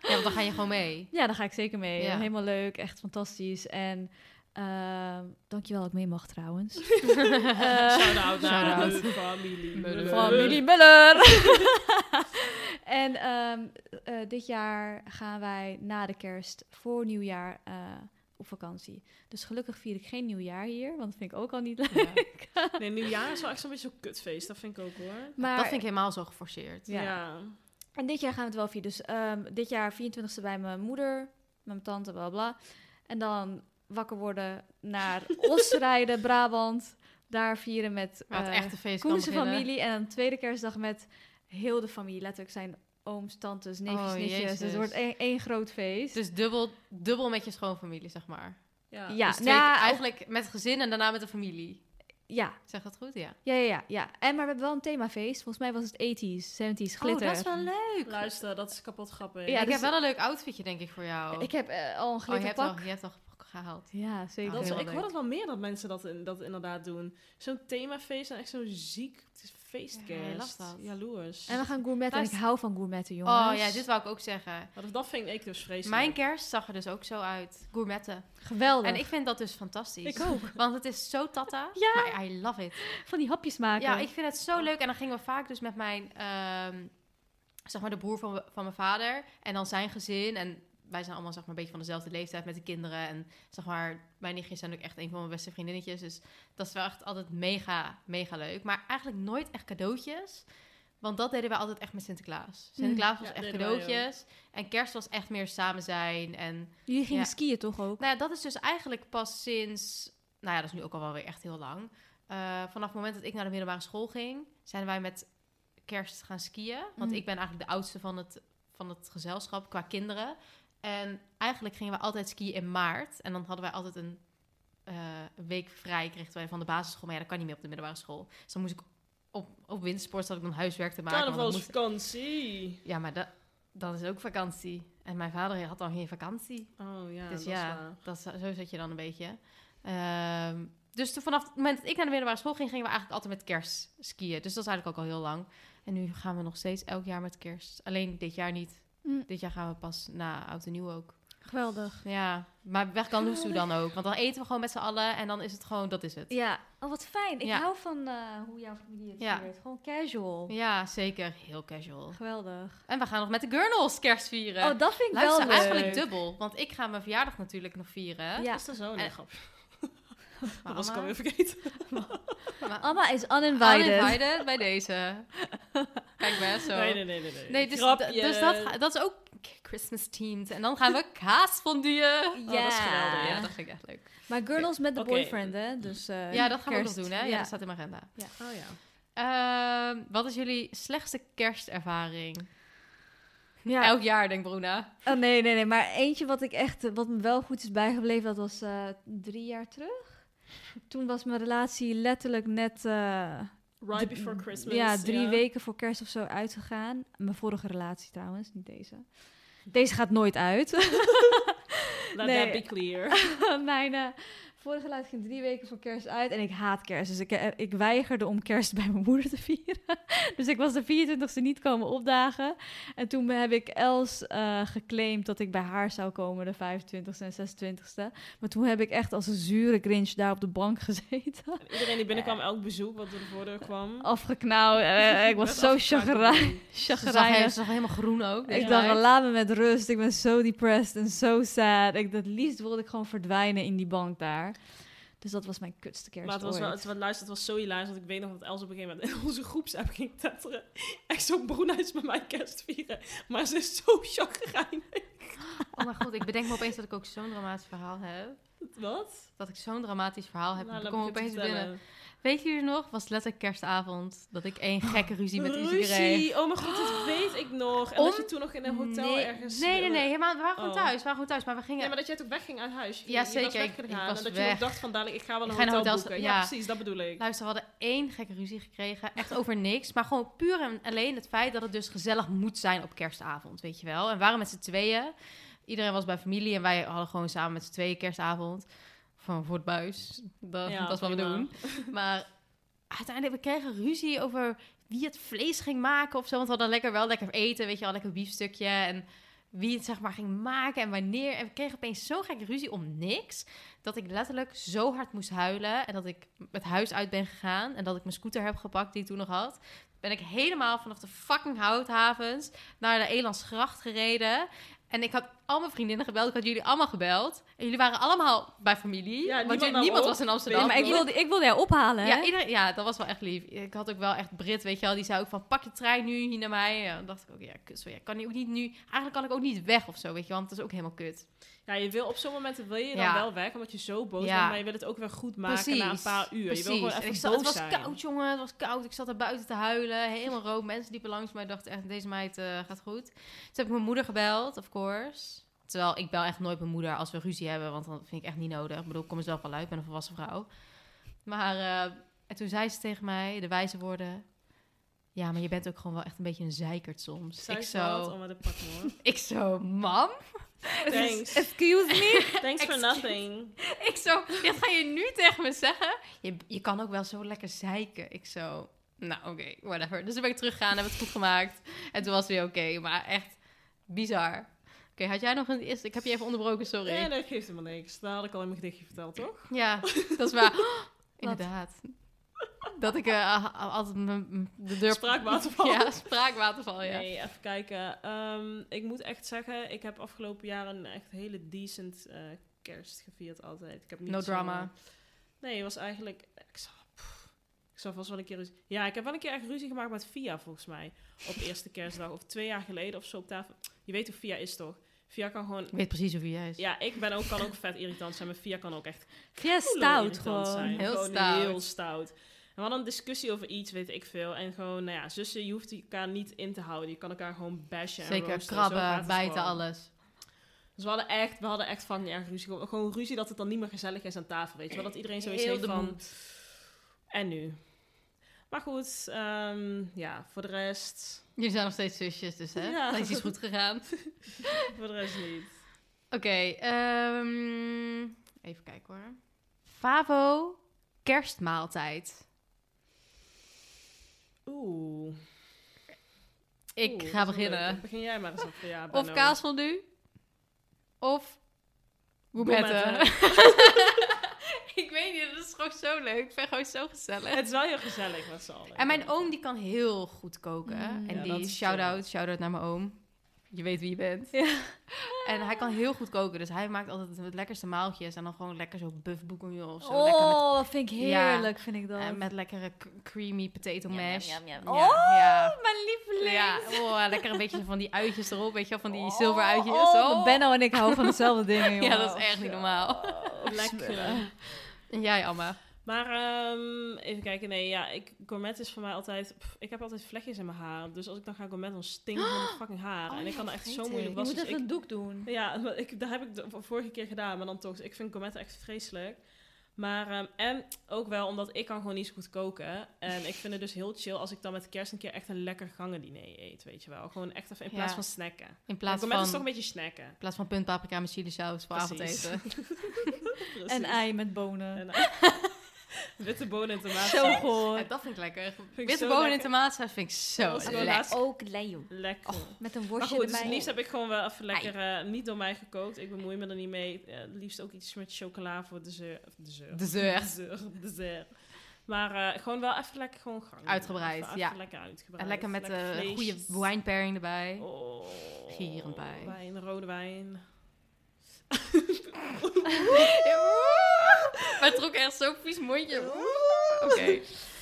Speaker 3: Ja, want dan ga je gewoon mee.
Speaker 4: Ja, daar ga ik zeker mee.
Speaker 3: Ja.
Speaker 4: Helemaal leuk, echt fantastisch. En Ehm, dankjewel dat ik mee mag trouwens.
Speaker 3: Eh,
Speaker 5: Shout-out naar
Speaker 4: shout-out.
Speaker 5: de familie.
Speaker 3: Muller.
Speaker 4: Familie Muller. en ehm, eh, dit jaar gaan wij na de kerst voor nieuwjaar eh, op vakantie. Dus gelukkig vier ik geen nieuwjaar hier, want dat vind ik ook al niet leuk.
Speaker 3: Ja.
Speaker 5: Nee, nieuwjaar is wel echt zo'n beetje zo'n kutfeest. Dat vind ik ook hoor.
Speaker 4: Maar,
Speaker 3: Dat vind ik helemaal zo geforceerd.
Speaker 4: Ja. En dit jaar gaan we het wel vieren. Dus ehm, dit jaar 24e bij mijn moeder, met mijn tante, bla bla. En dan wakker worden naar Os rijden, Brabant. Daar vieren met
Speaker 3: Waar het
Speaker 4: eh,
Speaker 3: echte feest kan
Speaker 4: Koense
Speaker 3: beginnen.
Speaker 4: familie. En dan tweede kerstdag met heel de familie. Letterlijk zijn ooms, tantes, neefjes,
Speaker 3: Oh,
Speaker 4: nichtjes. Dus
Speaker 3: Jezus.
Speaker 4: het wordt één, één groot feest.
Speaker 3: Dus dubbel, dubbel met je schoonfamilie, zeg maar.
Speaker 5: Ja.
Speaker 4: ja,
Speaker 3: dus twee keer
Speaker 4: nou,
Speaker 3: eigenlijk met gezin en daarna met de familie.
Speaker 4: ja,
Speaker 3: Zeg dat goed? Ja.
Speaker 4: ja, ja, ja, ja. En maar we hebben wel een themafeest. Volgens mij was het 80s,
Speaker 3: Oh,
Speaker 4: 70s, glitter.
Speaker 3: leuk.
Speaker 5: Dus Luister, dat is kapot grappig.
Speaker 4: Ja,
Speaker 3: ik
Speaker 4: dus-
Speaker 3: heb wel een leuk outfitje, denk ik, voor jou.
Speaker 4: Ik heb eh, al een
Speaker 3: oh, je hebt,
Speaker 4: glitterpak.
Speaker 3: al, je hebt al gehaald.
Speaker 4: ja, zeker.
Speaker 5: Dat is-
Speaker 3: Heel
Speaker 5: ik hoor
Speaker 3: leuk.
Speaker 5: het wel meer dat mensen dat, in, dat inderdaad doen. Zo'n themafeest en echt zo'n ziek feestkerst.
Speaker 3: Ja, je las dat.
Speaker 5: Jaloers.
Speaker 4: En we gaan gourmetten. En ik
Speaker 3: Luister-
Speaker 4: hou van gourmetten, jongens.
Speaker 3: Oh ja, dit wou ik ook zeggen.
Speaker 5: Maar dat- dat vind ik dus vreselijk.
Speaker 3: Mijn kerst zag er dus ook zo uit. Gourmetten.
Speaker 4: Geweldig.
Speaker 3: En ik vind dat dus fantastisch.
Speaker 5: Ik ook.
Speaker 3: Want het is zo tata.
Speaker 4: Ja.
Speaker 3: Maar I love it.
Speaker 4: Van die hapjes maken.
Speaker 3: Ja, ik vind het zo leuk. En dan gingen we vaak dus met mijn, ehm, zeg maar de broer van, van mijn vader. En dan zijn gezin. En wij zijn allemaal zeg maar een beetje van dezelfde leeftijd met de kinderen. En zeg maar, mijn nichtjes zijn ook echt een van mijn beste vriendinnetjes. Dus dat is wel echt altijd mega, mega leuk. Maar eigenlijk nooit echt cadeautjes. Want dat deden we altijd echt met Sinterklaas. Sinterklaas was
Speaker 5: Ja,
Speaker 3: echt
Speaker 5: deden wij ook.
Speaker 3: cadeautjes. En kerst was echt meer samen zijn. En
Speaker 4: Jullie gingen
Speaker 3: Ja.
Speaker 4: skiën toch ook?
Speaker 3: nou ja, dat is dus eigenlijk pas sinds... Nou ja, dat is nu ook al wel weer echt heel lang. Eh, vanaf het moment dat ik naar de middelbare school ging... zijn wij met kerst gaan skiën. Want
Speaker 4: Mm.
Speaker 3: ik ben eigenlijk de oudste van het, van het gezelschap qua kinderen. En eigenlijk gingen we altijd skiën in maart. En dan hadden wij altijd een eh, week vrij... kregen wij van de basisschool. Maar ja, dat kan niet meer op de middelbare school. Dus dan moest ik op, op wintersport... zat ik dan huiswerk te maken. want dat moest-
Speaker 5: Carnavalsvakantie.
Speaker 3: Ja, maar dat, dat is ook vakantie. En mijn vader had dan geen vakantie.
Speaker 5: Oh ja,
Speaker 3: Dus
Speaker 5: dat is
Speaker 3: ja,
Speaker 5: waar.
Speaker 3: dat, zo zit je dan een beetje. Ehm, dus toen, vanaf het moment dat ik naar de middelbare school ging, gingen we eigenlijk altijd met kerst skiën. Dus dat is eigenlijk ook al heel lang. En nu gaan we nog steeds elk jaar met kerst. Alleen dit jaar niet.
Speaker 4: Mm.
Speaker 3: Dit jaar gaan we pas na oud en nieuw ook.
Speaker 4: Geweldig.
Speaker 3: Ja, maar weg kan Loesoe dan ook. Want dan eten we gewoon met z'n allen en dan is het gewoon, dat is het.
Speaker 4: Ja. Oh, wat fijn. Ik
Speaker 3: Ja.
Speaker 4: hou van eh, hoe jouw familie het
Speaker 3: Ja.
Speaker 4: viert. Gewoon casual.
Speaker 3: Ja, zeker. Heel casual.
Speaker 4: Geweldig.
Speaker 3: En we gaan nog met de Gurnals kerst vieren.
Speaker 4: Oh, dat vind ik
Speaker 3: Luister,
Speaker 4: wel leuk.
Speaker 3: eigenlijk dubbel. Want ik ga mijn verjaardag natuurlijk nog vieren.
Speaker 4: Ja.
Speaker 5: Is dat zo? Nee,
Speaker 3: En-
Speaker 5: grap.
Speaker 3: Maar
Speaker 5: Dat was ik
Speaker 3: Anna-
Speaker 5: alweer vergeten.
Speaker 3: maar-
Speaker 4: Amma is uninvited.
Speaker 3: Uninvited. bij deze. Kijk maar, zo.
Speaker 5: Nee, nee, nee, nee. nee.
Speaker 3: Nee, dus,
Speaker 5: Grapje.
Speaker 3: dus dat, ga- dat is ook Christmas themed. En dan gaan we kaas fonduen.
Speaker 4: Ja.
Speaker 5: Oh, dat is geweldig,
Speaker 3: Ja, dat vind ik echt leuk.
Speaker 4: Maar girls met de
Speaker 5: Oké.
Speaker 4: boyfriend, hè? Dus, eh,
Speaker 3: ja, dat gaan we ook nog
Speaker 4: kerst.
Speaker 3: doen, hè? Ja,
Speaker 4: Ja.
Speaker 3: dat staat in mijn agenda.
Speaker 5: Oh ja.
Speaker 3: Ehm, wat is jullie slechtste kerstervaring?
Speaker 4: Ja.
Speaker 3: Elk jaar, denk Bruna.
Speaker 4: Oh, nee, nee, nee. Maar eentje wat ik echt, eh, wat me wel goed is bijgebleven, dat was eh, drie jaar terug. Toen was mijn relatie letterlijk net... eh,
Speaker 5: Right
Speaker 4: d-
Speaker 5: before Christmas.
Speaker 4: Ja, drie weken voor kerst of zo uitgegaan. Mijn vorige relatie trouwens, niet deze. Deze gaat nooit uit.
Speaker 5: Let
Speaker 4: Nee.
Speaker 5: that be clear.
Speaker 4: Mijn eh, vorige relatie ging drie weken voor kerst uit. En ik haat kerst. Dus ik, eh, ik weigerde om kerst bij mijn moeder te vieren. Dus ik was de 24e niet komen opdagen. En toen heb ik Els eh, geclaimd dat ik bij haar zou komen, de 25e en 26e. Maar toen heb ik echt als een zure grinch daar op de bank gezeten.
Speaker 5: Iedereen die binnenkwam, elk bezoek wat door de voordeur kwam.
Speaker 4: Afgeknauwd.
Speaker 3: Oh,
Speaker 4: eh, ik was
Speaker 5: werd
Speaker 4: zo
Speaker 5: afgekaakt.
Speaker 4: chagrijn.
Speaker 3: Ze zag, he- ze zag helemaal groen ook.
Speaker 4: Ik
Speaker 3: Ja.
Speaker 4: dacht, laat me met rust. Ik ben zo depressed en zo sad. Ik, het liefst wilde ik gewoon verdwijnen in die bank daar. Dus dat was mijn kutste kerst
Speaker 5: Maar het was wel,
Speaker 4: ooit.
Speaker 5: het, was- luister, het was zo hilarisch, want ik weet nog dat Els op een gegeven moment in onze groepsapp ging tetteren. Echt zo'n Bruna is met mij kerst vieren, maar ze is zo chagrijnig.
Speaker 3: Oh mijn god, ik bedenk me opeens dat ik ook zo'n dramatisch verhaal heb.
Speaker 5: Wat?
Speaker 3: Dat ik zo'n dramatisch verhaal heb.
Speaker 5: Nou,
Speaker 3: ik
Speaker 5: laat
Speaker 3: Oh, kom
Speaker 5: ik het
Speaker 3: opeens
Speaker 5: vertellen.
Speaker 3: binnen. Weet jullie nog? Was letterlijk kerstavond. Dat ik één gekke ruzie met Izzy kreeg.
Speaker 5: Ruzie! Oh mijn god, dat weet ik nog. En
Speaker 3: Om-
Speaker 5: dat je toen nog in een hotel
Speaker 3: nee,
Speaker 5: ergens...
Speaker 3: Nee, nee, nee. Helemaal, we waren gewoon
Speaker 5: Oh.
Speaker 3: thuis. We waren gewoon thuis. Maar we
Speaker 5: Ja,
Speaker 3: gingen...
Speaker 5: maar dat jij ook wegging uit huis. Je ging-
Speaker 3: Ja,
Speaker 5: je
Speaker 3: zeker.
Speaker 5: Was
Speaker 3: Ik-
Speaker 5: weggegaan
Speaker 3: ik was
Speaker 5: en dat je
Speaker 3: weg.
Speaker 5: ook dacht van dadelijk, ik ga wel een
Speaker 3: Ik ga in een
Speaker 5: hotel,
Speaker 3: hotel-
Speaker 5: boeken. Ja,
Speaker 3: ja. Nou,
Speaker 5: precies, dat bedoel ik.
Speaker 3: Luister, we hadden één gekke ruzie gekregen. Echt over niks. Maar gewoon puur en alleen het feit dat het dus gezellig moet zijn op kerstavond. Weet je wel. En we waren met z'n tweeën. Iedereen was bij familie. En wij hadden gewoon samen met z'n tweeën kerstavond. Van voor het buis. Dat,
Speaker 5: Ja,
Speaker 3: dat is wat we
Speaker 5: prima.
Speaker 3: doen. Maar uiteindelijk, we kregen ruzie over wie het vlees ging maken of zo. Want we hadden lekker wel lekker eten, weet je wel, lekker biefstukje. En wie het zeg maar ging maken en wanneer. En we kregen opeens zo'n gekke ruzie om niks. dat ik letterlijk zo hard moest huilen en dat ik het huis uit ben gegaan en dat ik mijn scooter heb gepakt die ik toen nog had. Ben ik helemaal vanaf de fucking houthavens naar de Elandsgracht gereden. En ik had al mijn vriendinnen gebeld, ik had jullie allemaal gebeld. En jullie waren allemaal bij familie,
Speaker 5: Ja, niemand
Speaker 3: want niemand,
Speaker 5: nam
Speaker 3: niemand
Speaker 5: op.
Speaker 3: was in Amsterdam.
Speaker 4: Ja, maar ik
Speaker 3: Ieder-
Speaker 4: wilde, ik wilde jou ophalen, hè?
Speaker 3: ja, ieder, ja, dat was wel echt lief. Ik had ook wel echt Brit, weet je wel. Die zei ook van, pak je trein nu hier naar mij. Ja, dan dacht ik ook, ja, kut. Sorry, ik kan ook niet nu... Eigenlijk kan ik ook niet weg of zo, weet je wel. Want het is ook helemaal kut.
Speaker 5: Ja, je wil op zo'n moment wil je dan
Speaker 3: Ja.
Speaker 5: wel weg, omdat je zo boos
Speaker 3: Ja.
Speaker 5: bent. Maar je wil het ook weer goed maken na een paar uur. Je wil gewoon
Speaker 3: En
Speaker 5: even
Speaker 3: ik zat,
Speaker 5: boos
Speaker 3: Het was
Speaker 5: zijn.
Speaker 3: koud, jongen. Het was koud. Ik zat er buiten te huilen. Helemaal rood. Mensen liepen langs mij. dachten echt, deze meid eh, gaat goed. Toen heb ik mijn moeder gebeld, of course. Terwijl ik bel echt nooit mijn moeder als we ruzie hebben. Want dan vind ik echt niet nodig. Ik bedoel, ik kom er zelf wel uit. Ik ben een volwassen vrouw. Maar eh, en toen zei ze tegen mij, de wijze woorden... Ja, maar je bent ook gewoon wel echt een beetje een zeikert soms.
Speaker 5: Zij
Speaker 3: ik
Speaker 5: is wel wat
Speaker 3: zo,
Speaker 5: om aan de pak, hoor.
Speaker 3: ik zo, mam? Dus
Speaker 5: Thanks.
Speaker 4: Excuse me?
Speaker 5: Thanks for nothing.
Speaker 3: Ik zo, dit ga je nu tegen me zeggen? Je, je kan ook wel zo lekker zeiken. Ik zo, nou oké, whatever. Dus toen ben ik teruggegaan, hebben het goed gemaakt. En toen was het weer oké, maar echt bizar. Oké, had jij nog een eerste? Ik heb je even onderbroken, sorry.
Speaker 5: Nee, dat geeft helemaal niks. Dat had ik al in mijn gedichtje verteld, toch?
Speaker 3: Ja, dat is waar. Oh, Inderdaad. Dat ik eh, a- a- altijd mijn- mijn- de deur...
Speaker 5: Spraakwaterval.
Speaker 3: Ja, spraakwaterval, ja.
Speaker 5: Nee, even kijken. Ehm, ik moet echt zeggen, ik heb afgelopen jaar een echt hele decent eh, kerst gevierd altijd. Ik heb niet
Speaker 3: No
Speaker 5: zo-
Speaker 3: drama.
Speaker 5: Nee, het was eigenlijk... Ik zou, pff, ik zou vast wel een keer ruzie... Ja, ik heb wel een keer echt ruzie gemaakt met Via, volgens mij. Op eerste kerstdag. Of twee jaar geleden of zo op tafel. Je weet hoe Via is, toch? Via kan gewoon...
Speaker 3: Ik weet precies hoe jij is.
Speaker 5: Ja, ik ben ook, kan ook vet irritant zijn. Maar Via kan ook echt
Speaker 4: Ja, stout
Speaker 5: irritant
Speaker 4: gewoon.
Speaker 5: zijn.
Speaker 3: Heel
Speaker 5: Gewoon
Speaker 3: stout.
Speaker 5: heel stout. En we hadden een discussie over iets, weet ik veel. En gewoon, nou ja, zussen, je hoeft elkaar niet in te houden. Je kan elkaar gewoon bashen en
Speaker 3: Zeker,
Speaker 5: roosten. Zo gaat
Speaker 3: krabben,
Speaker 5: het
Speaker 3: bijten,
Speaker 5: gewoon.
Speaker 3: alles.
Speaker 5: Dus we hadden echt, we hadden echt van erg ruzie. Gewoon, gewoon ruzie dat het dan niet meer gezellig is aan tafel, weet je wel. Dat iedereen zoiets
Speaker 3: Heel
Speaker 5: heeft
Speaker 3: de
Speaker 5: van,
Speaker 3: moed.
Speaker 5: en nu? Maar goed, ehm, ja, voor de rest,
Speaker 3: Jullie zijn nog steeds zusjes, dus hè?
Speaker 5: Ja.
Speaker 3: Dat is iets goed gegaan.
Speaker 5: voor de rest niet.
Speaker 3: Oké, ehm, even kijken hoor. Favo kerstmaaltijd.
Speaker 5: Oeh.
Speaker 3: Ik
Speaker 5: Oeh,
Speaker 3: ga
Speaker 5: dat is wel leuk.
Speaker 3: beginnen.
Speaker 5: Begin jij maar eens op, ja,
Speaker 3: Of
Speaker 5: Benno.
Speaker 3: kaasfondue. Of
Speaker 5: Gourmetten.
Speaker 3: gourmetten. ik weet niet, dat is gewoon zo leuk. Ik vind gewoon zo gezellig.
Speaker 5: Het is wel heel gezellig met z'n allen.
Speaker 3: En mijn oom die kan heel goed koken.
Speaker 4: Mm.
Speaker 3: en
Speaker 5: Ja, dat
Speaker 3: die
Speaker 5: is
Speaker 3: shout-out, shout-out naar mijn oom. Je weet wie je bent. En hij kan heel goed koken. Dus hij maakt altijd het lekkerste maaltjes. En dan gewoon lekker zo buff bourguignon of zo. Lekker met
Speaker 4: Oh, dat vind ik
Speaker 3: Ja.
Speaker 4: heerlijk, vind ik dat.
Speaker 3: En met lekkere c- creamy potato mash.
Speaker 4: Oh,
Speaker 3: ja.
Speaker 4: mijn lieveling.
Speaker 3: Ja, oh, lekker een beetje van die uitjes erop, weet je wel, van die
Speaker 4: Oh,
Speaker 3: zilveruitjes.
Speaker 4: Oh,
Speaker 3: Oh.
Speaker 4: Benno en ik houden van dezelfde dingen, jongen.
Speaker 3: Ja, dat is echt niet normaal.
Speaker 5: Lekker.
Speaker 3: En jij, Amma?
Speaker 5: Maar ehm, even kijken, nee, ja, ik, gourmet is voor mij altijd... pff, ik heb altijd vlechtjes in mijn haar. Dus als ik dan ga gourmet, dan stinkt mijn fucking haar.
Speaker 3: Oh
Speaker 5: en ik
Speaker 3: ja,
Speaker 5: kan er echt zo
Speaker 3: vergeet
Speaker 5: moeilijk
Speaker 3: ik.
Speaker 4: Je moet
Speaker 5: wassen.
Speaker 4: even
Speaker 5: Dus ik,
Speaker 4: een doek doen.
Speaker 5: ja, maar ik, dat heb ik de vorige keer gedaan, maar dan toch. Ik vind gourmet echt vreselijk. Maar, ehm, en ook wel omdat ik kan gewoon niet zo goed koken. En ik vind het dus heel chill als ik dan met kerst een keer echt een lekker gangendiner eet, weet je wel. Gewoon echt even in plaats
Speaker 3: Ja.
Speaker 5: van snacken.
Speaker 3: In
Speaker 5: Want
Speaker 3: plaats
Speaker 5: Gourmet is toch
Speaker 3: van,
Speaker 5: een beetje snacken.
Speaker 3: in plaats van punt paprika met chili saus voor
Speaker 5: Precies.
Speaker 3: avondeten.
Speaker 4: Een
Speaker 5: Precies.
Speaker 4: ei met bonen.
Speaker 5: En, eh, witte bonen en tomaten.
Speaker 4: Zo
Speaker 3: Ja,
Speaker 4: goed.
Speaker 3: dat vind ik lekker.
Speaker 5: ik
Speaker 3: Witte
Speaker 5: zo
Speaker 3: bonen in
Speaker 5: lekker.
Speaker 3: tomaatsaus vind ik zo
Speaker 5: Dat is gewoon
Speaker 3: lekker.
Speaker 5: laatst-
Speaker 4: Ook leeuw.
Speaker 5: Lekker.
Speaker 4: Met een
Speaker 5: Maar
Speaker 4: worstje
Speaker 5: goed, dus
Speaker 4: erbij.
Speaker 5: het liefst heb ik gewoon wel even lekker, eh, niet door mij gekookt. Ik bemoei me er niet mee. Eh, het liefst ook iets met chocola voor dessert. Of dessert.
Speaker 3: Dessert.
Speaker 5: Dessert. dessert. Maar eh, gewoon wel even lekker gewoon gang.
Speaker 3: Uitgebreid,
Speaker 5: Even,
Speaker 3: ja.
Speaker 5: Even lekker uitgebreid.
Speaker 3: En lekker met eh, een goede
Speaker 5: vleesjes.
Speaker 3: wijnpairing erbij.
Speaker 5: Oh,
Speaker 3: Gieren bij.
Speaker 5: Wijn, rode wijn.
Speaker 3: Maar het trok echt zo'n vies
Speaker 5: Oh.
Speaker 3: mondje. Oké.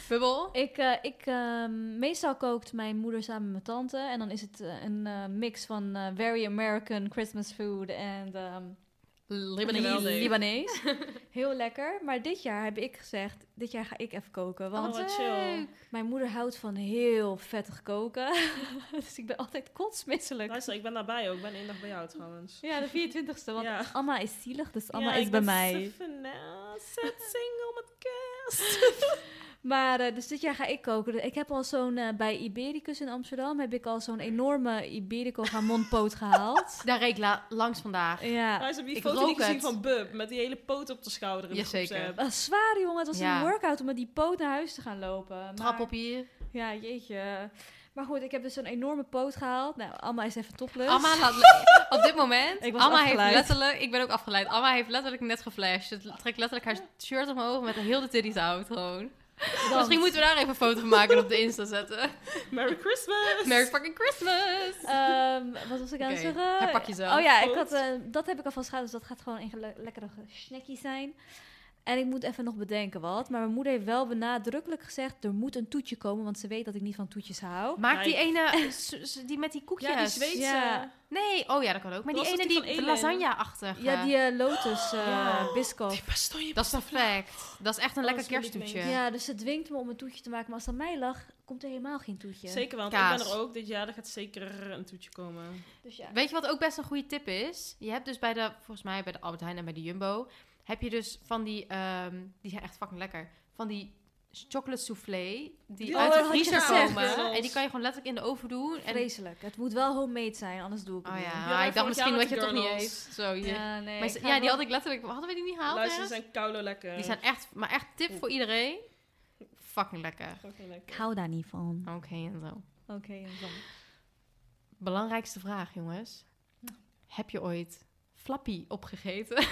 Speaker 3: Bubbel?
Speaker 4: Ik, eh, ik ehm, meestal kookt mijn moeder samen met mijn tante. En dan is het eh, een eh, mix van eh, very American Christmas food en ehm,
Speaker 3: Libanese.
Speaker 4: Libanees. Heel lekker. Maar dit jaar heb ik gezegd, dit jaar ga ik even koken.
Speaker 5: Oh,
Speaker 4: Want
Speaker 5: wat chill.
Speaker 4: mijn moeder houdt van heel vettig koken. dus ik ben altijd kotsmisselijk.
Speaker 5: Luister, ik ben daarbij ook. Ik ben één dag bij jou trouwens.
Speaker 4: Ja, de 24ste. Want
Speaker 5: Ja.
Speaker 4: Anna is zielig, dus Anna
Speaker 5: Ja,
Speaker 4: is
Speaker 5: ik
Speaker 4: bij
Speaker 5: ben
Speaker 4: mij.
Speaker 5: zo vanaf, Zet single met kerst.
Speaker 4: Maar eh, dus dit jaar ga ik koken. Ik heb al zo'n, eh, bij Ibericus in Amsterdam, heb ik al zo'n enorme Iberico Gamonpoot gehaald.
Speaker 3: Daar reek ik la- langs vandaag.
Speaker 4: ja.
Speaker 5: Luister, heb je
Speaker 3: Ik
Speaker 5: die foto
Speaker 3: rook
Speaker 5: niet gezien
Speaker 3: het.
Speaker 5: van Bub? Met die hele poot op de schouder in de
Speaker 3: Jazeker.
Speaker 5: groepsapp.
Speaker 4: Dat was Ah, zwaar, jongen. Het was
Speaker 3: Ja.
Speaker 4: een workout om met die poot naar huis te gaan lopen. Maar-
Speaker 3: Trap op hier.
Speaker 4: Ja, jeetje. Maar goed, ik heb dus een enorme poot gehaald. Nou, Alma is even topless.
Speaker 3: Amma laat- op dit moment,
Speaker 4: Ik was
Speaker 3: Amma
Speaker 4: afgeleid.
Speaker 3: heeft letterlijk, ik ben ook afgeleid, Amma heeft letterlijk net geflasht. Ze trekt letterlijk haar shirt omhoog met heel de titties out gewoon.
Speaker 4: Dan-
Speaker 3: Misschien moeten we daar even een foto van maken en op de Insta zetten.
Speaker 5: Merry Christmas!
Speaker 3: Merry fucking Christmas!
Speaker 4: Ehm, wat was ik aan het
Speaker 3: Oké,
Speaker 4: zeggen?
Speaker 3: herpak jezelf.
Speaker 4: Oh ja, ik
Speaker 5: Goed.
Speaker 4: had, eh, dat heb ik alvast gehad. Dus dat gaat gewoon een gele- lekkere snackie zijn. En ik moet even nog bedenken wat. Maar mijn moeder heeft wel benadrukkelijk gezegd... er moet een toetje komen, want ze weet dat ik niet van toetjes hou.
Speaker 3: Maak
Speaker 5: Kijk.
Speaker 3: die ene, s- s- die met die koekjes.
Speaker 5: Ja, die Zweedse.
Speaker 4: Ja.
Speaker 3: Nee, oh ja, dat kan ook. Maar
Speaker 5: Dat
Speaker 3: die
Speaker 5: was
Speaker 3: ene
Speaker 5: toch die
Speaker 3: die,
Speaker 5: van
Speaker 3: de
Speaker 5: Elin?
Speaker 3: lasagne-achtige.
Speaker 4: Ja, die eh, lotus eh
Speaker 5: Ja.
Speaker 4: biscoff.
Speaker 5: Die pastooi.
Speaker 3: Dat is perfect. Dat is echt een
Speaker 5: Alles
Speaker 3: lekker
Speaker 5: wil ik
Speaker 3: kersttoetje.
Speaker 4: Ja. dus ze dwingt me om een toetje te maken. Maar als het aan mij lag, komt er helemaal geen toetje.
Speaker 5: Zeker wel, want
Speaker 3: Kaas.
Speaker 5: ik ben er ook dit jaar. Er gaat zeker een toetje komen.
Speaker 4: Dus ja.
Speaker 3: Weet je wat ook best een goede tip is? Je hebt dus bij de, volgens mij bij de Albert Heijn en bij de Jumbo, heb je dus van die, ehm, die zijn echt fucking lekker, van die chocolate soufflé, die
Speaker 5: Die
Speaker 3: uit
Speaker 4: had
Speaker 3: de
Speaker 4: je
Speaker 3: vriezer
Speaker 4: gezegd,
Speaker 3: komen.
Speaker 5: girls.
Speaker 3: En die kan je gewoon letterlijk in de oven doen. En, oh
Speaker 4: Vreselijk. Het moet wel homemade zijn, anders doe ik
Speaker 3: ja,
Speaker 4: het niet.
Speaker 3: maar ik dacht
Speaker 5: vorig
Speaker 3: misschien
Speaker 5: jaar
Speaker 3: dat
Speaker 5: met
Speaker 3: je
Speaker 5: de
Speaker 3: het toch niet
Speaker 5: girls.
Speaker 3: heeft. Zo, je-
Speaker 4: Ja, nee,
Speaker 3: maar
Speaker 4: ik
Speaker 3: ze-
Speaker 4: ga
Speaker 3: ja, die
Speaker 4: wel-
Speaker 3: had ik letterlijk, hadden we die niet gehaald?
Speaker 5: Luister, ze
Speaker 3: ergens?
Speaker 5: zijn koude lekker.
Speaker 3: Die zijn echt, maar echt tip voor iedereen. Fucking lekker.
Speaker 5: Fucking lekker.
Speaker 4: Ik hou daar niet van.
Speaker 3: Oké en zo.
Speaker 4: Oké, en dan.
Speaker 3: Belangrijkste vraag, jongens. Heb je ooit Flappy opgegeten?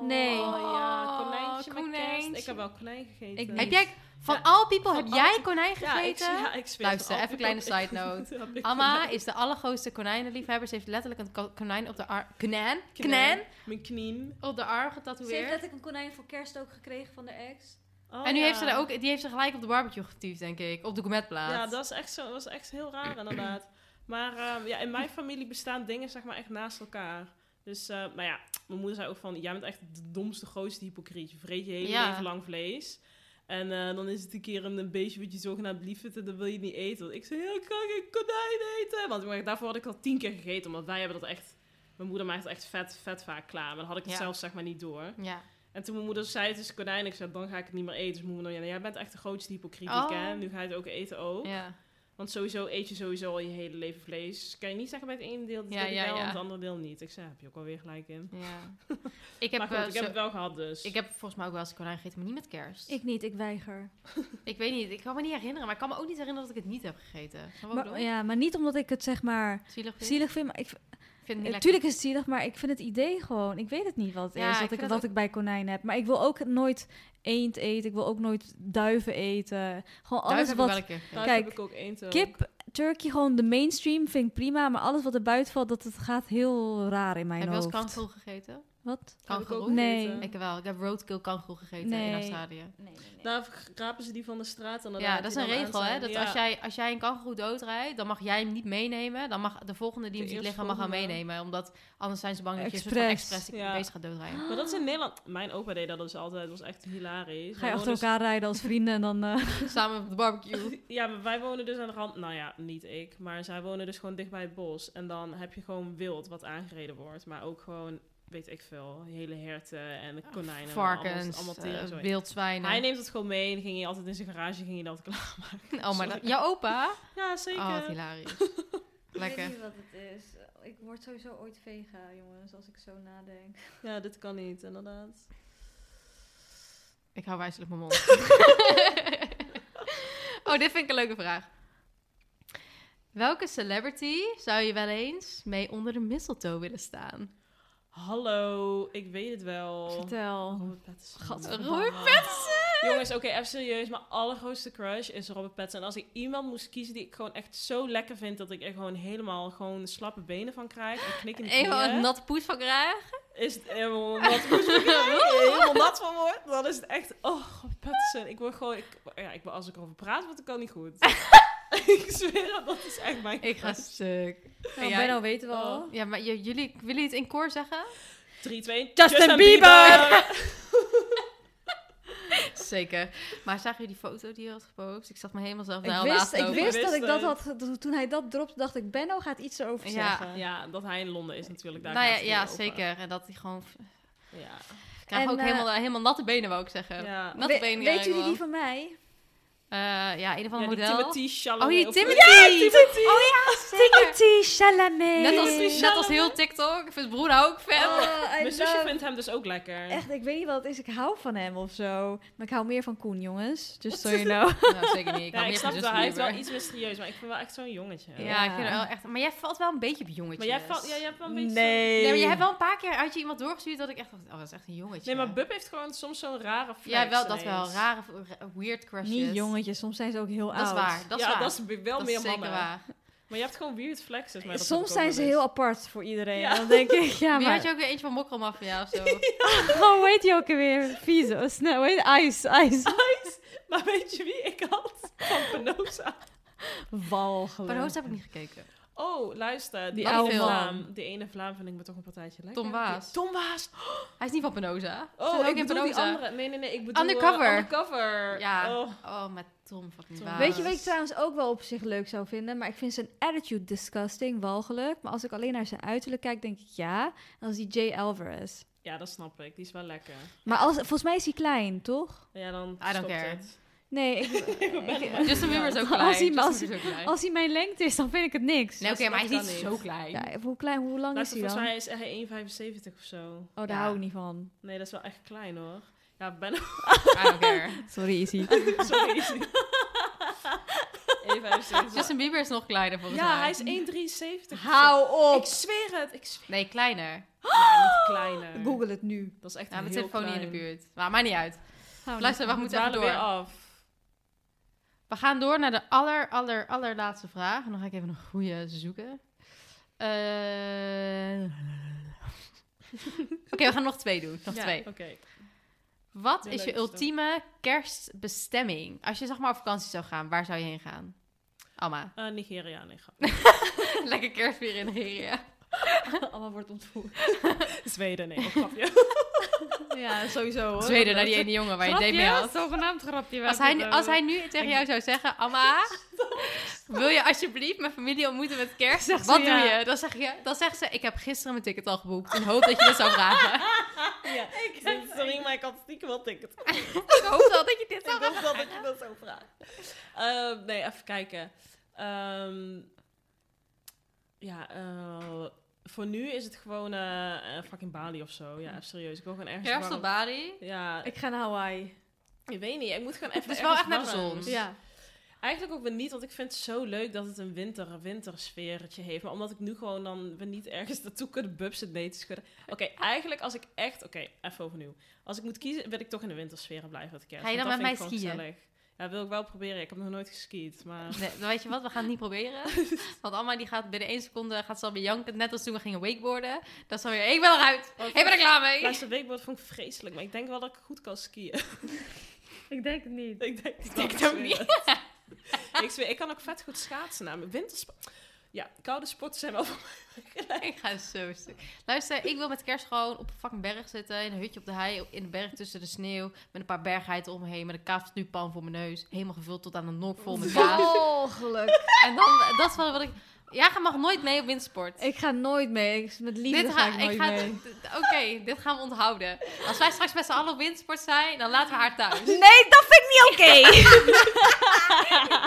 Speaker 4: Nee.
Speaker 5: Oh ja, konijntje,
Speaker 3: Oh,
Speaker 5: met kerst.
Speaker 3: konijntje.
Speaker 5: Ik heb wel konijn gegeten.
Speaker 4: Ik
Speaker 3: Heb
Speaker 4: niet.
Speaker 3: jij, van all people, heb
Speaker 5: all
Speaker 3: jij
Speaker 5: people.
Speaker 3: konijn
Speaker 5: ja, ik,
Speaker 3: gegeten?
Speaker 5: ja, ik zweer
Speaker 3: Luister,
Speaker 5: het al.
Speaker 3: even kleine
Speaker 5: Ik-
Speaker 3: side note.
Speaker 5: heb ik
Speaker 3: Amma
Speaker 5: gedaan.
Speaker 3: is de allergrootste konijnenliefhebber. Ze heeft letterlijk een ko- konijn op de arm... Knijn? Knijn?
Speaker 5: Knijn. Mijn knieën.
Speaker 3: Op de arm
Speaker 4: Ze heeft
Speaker 3: getatoeëerd.
Speaker 4: letterlijk een konijn voor kerst ook gekregen van de ex.
Speaker 5: Oh,
Speaker 3: en nu
Speaker 5: ja.
Speaker 3: heeft ze daar ook... Die heeft ze gelijk op de barbecue getiefd, denk ik. Op de gourmetplaat.
Speaker 5: Ja, dat is echt zo, dat was echt heel raar inderdaad. Maar ehm, ja, in mijn familie bestaan dingen zeg maar echt naast elkaar. Dus, eh, maar ja, mijn moeder zei ook van, jij bent echt de domste, grootste hypocriet. Je vreet je hele
Speaker 3: Ja.
Speaker 5: leven lang vlees. En eh, dan is het een keer een, een beestje wat je zogenaamd lief vindt en dat wil je niet eten. Want ik zei, ja, ik kan geen konijn eten. Want maar daarvoor had ik al tien keer gegeten, omdat wij hebben dat echt... Mijn moeder maakt het echt vet, vet vaak klaar. Maar dan had ik het
Speaker 3: Ja.
Speaker 5: zelf zeg maar niet door.
Speaker 3: Ja.
Speaker 5: En toen mijn moeder zei, het is konijn. Ik zei, dan ga ik het niet meer eten. Dus mijn moeder, ja, jij bent echt de grootste hypocriet. die ik
Speaker 3: Oh.
Speaker 5: ken. Nu ga je het ook eten ook.
Speaker 3: ja. Want
Speaker 5: Want sowieso eet je sowieso al je hele leven vlees. Kan je niet zeggen bij het ene deel, dat
Speaker 3: Ja,
Speaker 5: wil ik
Speaker 3: ja,
Speaker 5: wel,
Speaker 3: ja.
Speaker 5: en het andere deel niet. Ik zei, heb je ook alweer gelijk in.
Speaker 3: Ik heb,
Speaker 5: maar goed,
Speaker 3: eh,
Speaker 5: ik
Speaker 3: zo-
Speaker 5: heb het wel gehad dus.
Speaker 3: ik heb volgens mij ook wel eens konijn gegeten, maar niet met kerst.
Speaker 4: Ik niet, ik weiger.
Speaker 3: Ik weet niet, ik kan me niet herinneren, maar ik kan me ook niet herinneren dat ik het niet heb gegeten. Snap je wat ik
Speaker 4: Maar,
Speaker 3: bedoel?
Speaker 4: ja, maar niet omdat ik het zeg maar
Speaker 3: Zielig vind
Speaker 4: zielig vind. Maar ik,
Speaker 3: Ik vind
Speaker 5: Eh,
Speaker 3: het niet
Speaker 4: natuurlijk is het zielig, maar ik vind het idee gewoon. Ik weet het niet wat het
Speaker 3: Ja,
Speaker 4: is
Speaker 3: ik
Speaker 4: wat ik,
Speaker 3: vind het
Speaker 4: wat
Speaker 3: ook-
Speaker 4: ik bij konijnen heb. Maar ik wil ook nooit eend eten. Ik wil ook nooit duiven eten.
Speaker 3: lekker. Duif
Speaker 4: Gewoon alles
Speaker 3: heb ik wel
Speaker 4: wat.
Speaker 3: een keer gegeten.
Speaker 5: Daar
Speaker 4: kijk,
Speaker 5: heb ik ook één te
Speaker 4: Kip, turkey, gewoon de mainstream vind ik prima. Maar alles wat er buiten valt, dat het gaat heel raar in mijn
Speaker 3: Heb je wel eens
Speaker 4: hoofd.
Speaker 3: kangoeroe gegeten?
Speaker 4: Wat?
Speaker 3: Kangoeroe?
Speaker 4: Nee.
Speaker 5: Hm.
Speaker 3: Ik wel. Ik heb roadkill kangoeroe gegeten in
Speaker 4: Nee.
Speaker 3: Australië.
Speaker 4: Nee, nee, nee.
Speaker 5: Daar rapen ze die van de straat en dan
Speaker 3: Ja,
Speaker 5: laat
Speaker 3: dat is
Speaker 5: die
Speaker 3: een
Speaker 5: dan
Speaker 3: regel,
Speaker 5: aan
Speaker 3: hè?
Speaker 5: zijn.
Speaker 3: Dat
Speaker 5: Ja.
Speaker 3: als, jij, als jij een kangoeroe doodrijdt, dan mag jij hem niet meenemen. Dan mag de volgende die
Speaker 5: De
Speaker 3: hem ziet liggen, mag hem
Speaker 5: eerstvolgende.
Speaker 3: meenemen. Omdat anders zijn ze bang dat je een soort van
Speaker 4: Expres.
Speaker 3: expres
Speaker 5: Ja.
Speaker 3: beest gaat doodrijden.
Speaker 5: Maar dat is in Nederland... Mijn opa deed dat dus altijd. Dat was echt hilarisch.
Speaker 4: Ga
Speaker 5: Wij
Speaker 4: je achter
Speaker 5: wonen
Speaker 3: dus-
Speaker 4: elkaar rijden als vrienden en dan... eh,
Speaker 3: Samen op de barbecue.
Speaker 5: dus- Ja, maar wij wonen dus aan de rand... Nou ja, niet ik. Maar zij wonen dus gewoon dicht bij het bos. En dan heb je gewoon wild wat aangereden wordt. Maar ook gewoon, weet ik veel, hele herten en de konijnen. en
Speaker 3: Oh, Varkens,
Speaker 5: Allemaal,
Speaker 3: eh,
Speaker 5: allemaal tering, sorry.
Speaker 3: wildzwijnen.
Speaker 5: Hij neemt het gewoon mee en dan ging hij altijd in zijn garage ging hij dat klaarmaken.
Speaker 3: Oh, maar dat-
Speaker 5: Sorry.
Speaker 3: jouw opa?
Speaker 5: Ja, zeker.
Speaker 3: Oh, wat hilarisch. Lekker.
Speaker 4: wat het is. Ik word sowieso ooit vega, jongens, als ik zo nadenk.
Speaker 5: Ja, dit kan niet, inderdaad.
Speaker 3: Ik hou wijselijk mijn mond. oh, dit vind ik een leuke vraag. Welke celebrity zou je wel eens mee onder de mistletoe willen staan?
Speaker 5: Hallo, ik weet het
Speaker 3: Oh.
Speaker 5: wel.
Speaker 4: Vertel.
Speaker 5: Robert Pattinson. Oh,
Speaker 4: Gadverdamme.
Speaker 3: Robert Pattinson!
Speaker 5: Jongens, oké, even serieus. Mijn allergrootste crush is Robert Pattinson. En als ik iemand moest kiezen die ik gewoon echt zo lekker vind... dat ik er gewoon helemaal gewoon slappe benen van krijg... en knik in de
Speaker 3: Eenmaal een
Speaker 5: knieën...
Speaker 3: natte poes van krijg.
Speaker 5: is het helemaal nat van helemaal nat van wordt, dan is het echt... Oh, Robert Pattinson. Ik word gewoon... Ik, ja, ik, ben- als ik erover praat, wordt het al niet goed. ik zweer het, dat is echt mijn
Speaker 3: Ik ga
Speaker 5: crush.
Speaker 3: stuk.
Speaker 4: Nou,
Speaker 3: Ja,
Speaker 4: Benno weten we
Speaker 5: oh.
Speaker 4: al.
Speaker 3: Ja, maar j- jullie, willen jullie het in koor zeggen?
Speaker 5: 3, 2, Justin,
Speaker 4: Justin
Speaker 5: Bieber!
Speaker 3: Zeker. Maar zag je die foto die je had gepost? Ik zat me helemaal zelf
Speaker 4: Ik
Speaker 3: naar
Speaker 4: wist, ik
Speaker 5: over.
Speaker 4: wist
Speaker 5: Ik
Speaker 4: dat
Speaker 5: wist
Speaker 4: ik
Speaker 5: het.
Speaker 4: dat had... ge- Toen hij dat dropte, dacht ik, Benno gaat iets erover
Speaker 3: Ja.
Speaker 4: zeggen.
Speaker 5: Ja, dat hij in Londen is natuurlijk. Daar
Speaker 3: Nou ja,
Speaker 5: gaat het
Speaker 3: ja,
Speaker 5: weer over.
Speaker 3: zeker. En dat hij gewoon...
Speaker 5: Ja.
Speaker 3: Ik krijg
Speaker 4: En,
Speaker 3: ook
Speaker 4: eh,
Speaker 3: helemaal, helemaal natte benen, wou ik zeggen.
Speaker 5: Ja.
Speaker 3: Natte
Speaker 4: We-
Speaker 3: benen.
Speaker 4: Weet
Speaker 3: krijg ik
Speaker 4: jullie
Speaker 3: wel.
Speaker 4: die van mij?
Speaker 3: Eh, ja, een of
Speaker 5: Ja,
Speaker 3: ander
Speaker 5: die
Speaker 3: model.
Speaker 5: Timothy Chalamet.
Speaker 3: Oh, die
Speaker 5: of-
Speaker 3: Timothy!
Speaker 4: Oh ja, Timothy Chalamet.
Speaker 3: Net als,
Speaker 5: Timothy
Speaker 3: net als heel
Speaker 5: Chalamet.
Speaker 3: TikTok. Ik vind Broen ook fan.
Speaker 4: Oh, I
Speaker 5: Mijn zusje
Speaker 4: love-
Speaker 5: vindt hem dus ook lekker.
Speaker 4: Echt, ik weet niet wat het is. Ik hou van hem of zo. Maar ik hou meer van Koen, jongens. Just so you know.
Speaker 3: Nou, zeker niet. Ik,
Speaker 5: ja,
Speaker 3: hou
Speaker 5: ik snap
Speaker 3: meer
Speaker 5: wel.
Speaker 3: van Justin
Speaker 5: Hij is wel
Speaker 3: Bieber.
Speaker 5: iets mysterieus, maar ik vind wel echt zo'n jongetje.
Speaker 3: Ja,
Speaker 4: Ja.
Speaker 3: ik vind hem wel echt... Maar jij valt wel een beetje op jongetjes.
Speaker 5: Maar jij, valt, ja, jij hebt wel een beetje...
Speaker 3: Nee, maar je hebt wel een paar keer uit je iemand doorgestuurd dat ik echt dacht, oh, dat is echt een jongetje.
Speaker 5: Nee, maar Bub heeft gewoon soms zo'n rare flex
Speaker 3: Ja, wel dat
Speaker 5: ineens.
Speaker 3: wel. Rare, v- weird crushes.
Speaker 4: Niet jongetjes, soms zijn ze ook heel
Speaker 3: Dat is
Speaker 4: oud.
Speaker 3: waar. Dat is
Speaker 5: ja,
Speaker 3: waar.
Speaker 5: dat is be- wel
Speaker 3: Dat is
Speaker 5: meer
Speaker 3: zeker
Speaker 5: mannen.
Speaker 3: waar.
Speaker 5: Maar je hebt gewoon weird flexes. Maar dat heb ik
Speaker 4: Soms
Speaker 5: ook
Speaker 4: zijn
Speaker 5: wel
Speaker 4: ze
Speaker 5: eens.
Speaker 4: heel apart voor iedereen.
Speaker 5: Ja.
Speaker 4: Dan denk ik, ja,
Speaker 3: Wie had je
Speaker 4: maar...
Speaker 3: ook weer eentje van Mokkelmafia of zo?
Speaker 4: Oh, weet je ook weer? Vieze. of Snel, weet nou- Ice, ice.
Speaker 5: Maar weet je wie ik had? Van Penosa.
Speaker 4: Walgelijk.
Speaker 3: Maar Roos heb ik niet gekeken.
Speaker 5: Oh, luister. Die
Speaker 3: Wat
Speaker 5: ene
Speaker 3: film?
Speaker 5: Vlaam. Die ene Vlaam vind ik me toch een partijtje lekker.
Speaker 3: Tom Waas.
Speaker 5: Tom Waas.
Speaker 3: Hij is niet van Penosa. Ze
Speaker 5: Oh,
Speaker 3: zijn
Speaker 5: ik
Speaker 3: in
Speaker 5: bedoel die
Speaker 3: Penosa.
Speaker 5: andere. Nee, nee, nee. Ik bedoel... eh,
Speaker 3: Undercover.
Speaker 5: undercover.
Speaker 3: Ja.
Speaker 5: Oh.
Speaker 3: Oh, met Tom fucking
Speaker 5: Tom.
Speaker 3: Waas.
Speaker 4: Weet je wat ik trouwens ook wel op zich leuk zou vinden? Maar ik vind zijn attitude disgusting, walgelijk. Maar als ik alleen naar zijn uiterlijk kijk, denk ik ja. En als die Jay Alvarez.
Speaker 5: ja, dat snap ik. Die is wel lekker.
Speaker 4: Maar als, volgens mij is hij klein, toch?
Speaker 5: Ja, dan
Speaker 3: don't
Speaker 5: stopt
Speaker 3: care.
Speaker 5: het.
Speaker 4: Nee, ik, ik-
Speaker 3: Justin Bieber is ook
Speaker 4: Als
Speaker 3: klein.
Speaker 4: hij-
Speaker 3: Justin
Speaker 4: als
Speaker 3: Bieber is ook klein.
Speaker 4: als hij mijn lengte is, dan vind ik het niks.
Speaker 3: Nee, oké,
Speaker 5: dat
Speaker 3: maar hij is
Speaker 5: kan
Speaker 3: niet
Speaker 5: niet.
Speaker 3: zo klein.
Speaker 4: Ja, hoe klein, hoe lang
Speaker 5: Luister,
Speaker 4: is hij
Speaker 5: volgens
Speaker 4: dan?
Speaker 5: mij is hij 1,75 of zo.
Speaker 4: Oh, daar
Speaker 3: Ja.
Speaker 4: hou ik niet van.
Speaker 5: Nee, dat is wel echt klein hoor. Ja, ben ook
Speaker 3: I don't care.
Speaker 4: Sorry, Izzy.
Speaker 5: sorry. 1,75.
Speaker 3: Justin Bieber is nog kleiner volgens mij.
Speaker 5: Ja, hij is 1,73.
Speaker 4: Hou
Speaker 5: Ik zweer het. Ik zweer
Speaker 3: Nee, kleiner.
Speaker 5: Ja, niet kleiner.
Speaker 4: Google het nu.
Speaker 5: Dat is echt
Speaker 3: Ja,
Speaker 5: heel
Speaker 3: mijn telefoon niet in
Speaker 5: klein. Oh,
Speaker 3: de buurt. Maar maakt niet uit.
Speaker 4: Hou
Speaker 3: Luister, we
Speaker 4: niet.
Speaker 3: moeten
Speaker 5: dwalen
Speaker 3: even
Speaker 5: weer
Speaker 3: door.
Speaker 5: af.
Speaker 3: We gaan door naar de aller, aller, allerlaatste vraag. En dan ga ik even een goede zoeken. Eh, Oké, we gaan nog twee doen. Nog
Speaker 5: Ja,
Speaker 3: twee.
Speaker 5: Oké.
Speaker 3: Wat
Speaker 5: de
Speaker 3: is je
Speaker 5: leukste.
Speaker 3: ultieme kerstbestemming? Als je zeg maar op vakantie zou gaan, waar zou je heen gaan? Alma.
Speaker 5: Eh, Nigeria, nee, grap.
Speaker 3: Lekker kerstvier in Nigeria.
Speaker 4: Allemaal wordt ontvoerd.
Speaker 5: Zweden, nee, een grapje.
Speaker 4: ja, sowieso hoor.
Speaker 3: Zweden, naar die ene jongen waar je het
Speaker 4: Grapje?
Speaker 3: date mee had.
Speaker 4: Zogenaamd grapje.
Speaker 3: Als hij, nu- als hij nu tegen jou zou zeggen, Amma, wil je alsjeblieft mijn familie ontmoeten met kerst?
Speaker 4: Zegt ze
Speaker 3: Wat doe
Speaker 4: ja.
Speaker 3: je? Dan, zeg je? dan zegt ze, ik heb gisteren mijn ticket al geboekt. In hoop dat je dat zou vragen.
Speaker 5: ja. ik zeg, sorry, maar ik had stiekem wel ticket. Ik
Speaker 3: ik hoop wel dat je dit zou
Speaker 5: dacht wel dat je dat zo vraagt. Ehm, nee, even kijken. Ehm, ja, eh, voor nu is het gewoon eh, eh, fucking Bali of zo. Ja, even serieus. Ik wil gewoon ergens
Speaker 3: Kerst Hm.
Speaker 5: warm.
Speaker 3: op Bali.
Speaker 5: Ja, ik,
Speaker 4: Ik ga naar Hawaii.
Speaker 5: weet niet. Ik moet gewoon even
Speaker 3: Het is wel echt
Speaker 5: ergens
Speaker 3: naar de
Speaker 5: warm.
Speaker 3: zon.
Speaker 4: Ja.
Speaker 5: Eigenlijk ook weer niet, want ik vind het zo leuk dat het een winter, wintersfeertje heeft. Maar omdat ik nu gewoon dan we niet ergens naartoe kunnen bubsen mee te schudden. Oké, eigenlijk als ik echt, oké, even overnieuw. Als ik moet kiezen, wil ik toch in de wintersfeer blijven met kerst.
Speaker 3: Ga je
Speaker 5: want
Speaker 3: dan
Speaker 5: dat
Speaker 3: met
Speaker 5: vind
Speaker 3: mij
Speaker 5: ik gewoon
Speaker 3: skiën?
Speaker 5: gezellig. Ja, wil ik wel proberen. Ik heb nog nooit geskiet, maar...
Speaker 3: Nee, dan weet je wat, we gaan het niet proberen. Want Amma die gaat binnen één seconde, gaat ze alweer janken. Net als toen we gingen wakeboarden. Dan zal je, ik ben eruit.
Speaker 5: Oh,
Speaker 3: Ik ben er klaar mee.
Speaker 5: Laatste weekboard vond ik vreselijk, maar ik denk wel dat ik goed kan skiën.
Speaker 4: Ik denk het niet.
Speaker 5: ik denk, ik
Speaker 3: denk het ook niet.
Speaker 5: ik, zweer, ik kan ook vet goed schaatsen namelijk. Wintersport... Ja, koude sporten zijn wel voor mij gelijk.
Speaker 3: Ik ga zo stuk. Luister, ik wil met kerst gewoon op een fucking berg zitten. In een hutje op de hei, in de berg tussen de sneeuw. Met een paar bergheiden om me heen. Met een kaasnupan voor mijn neus. Helemaal gevuld tot aan de nok vol met kaas.
Speaker 4: Walgelijk.
Speaker 3: En dan, dat is wel wat ik... Jij mag nooit mee op wintersport.
Speaker 4: Ik ga nooit mee. Ik, met liefde ga, ik nooit mee.
Speaker 3: d- Oké, dit gaan we onthouden. Als wij straks met z'n allen op wintersport zijn, dan laten we haar thuis.
Speaker 4: Nee, dat vind ik niet oké.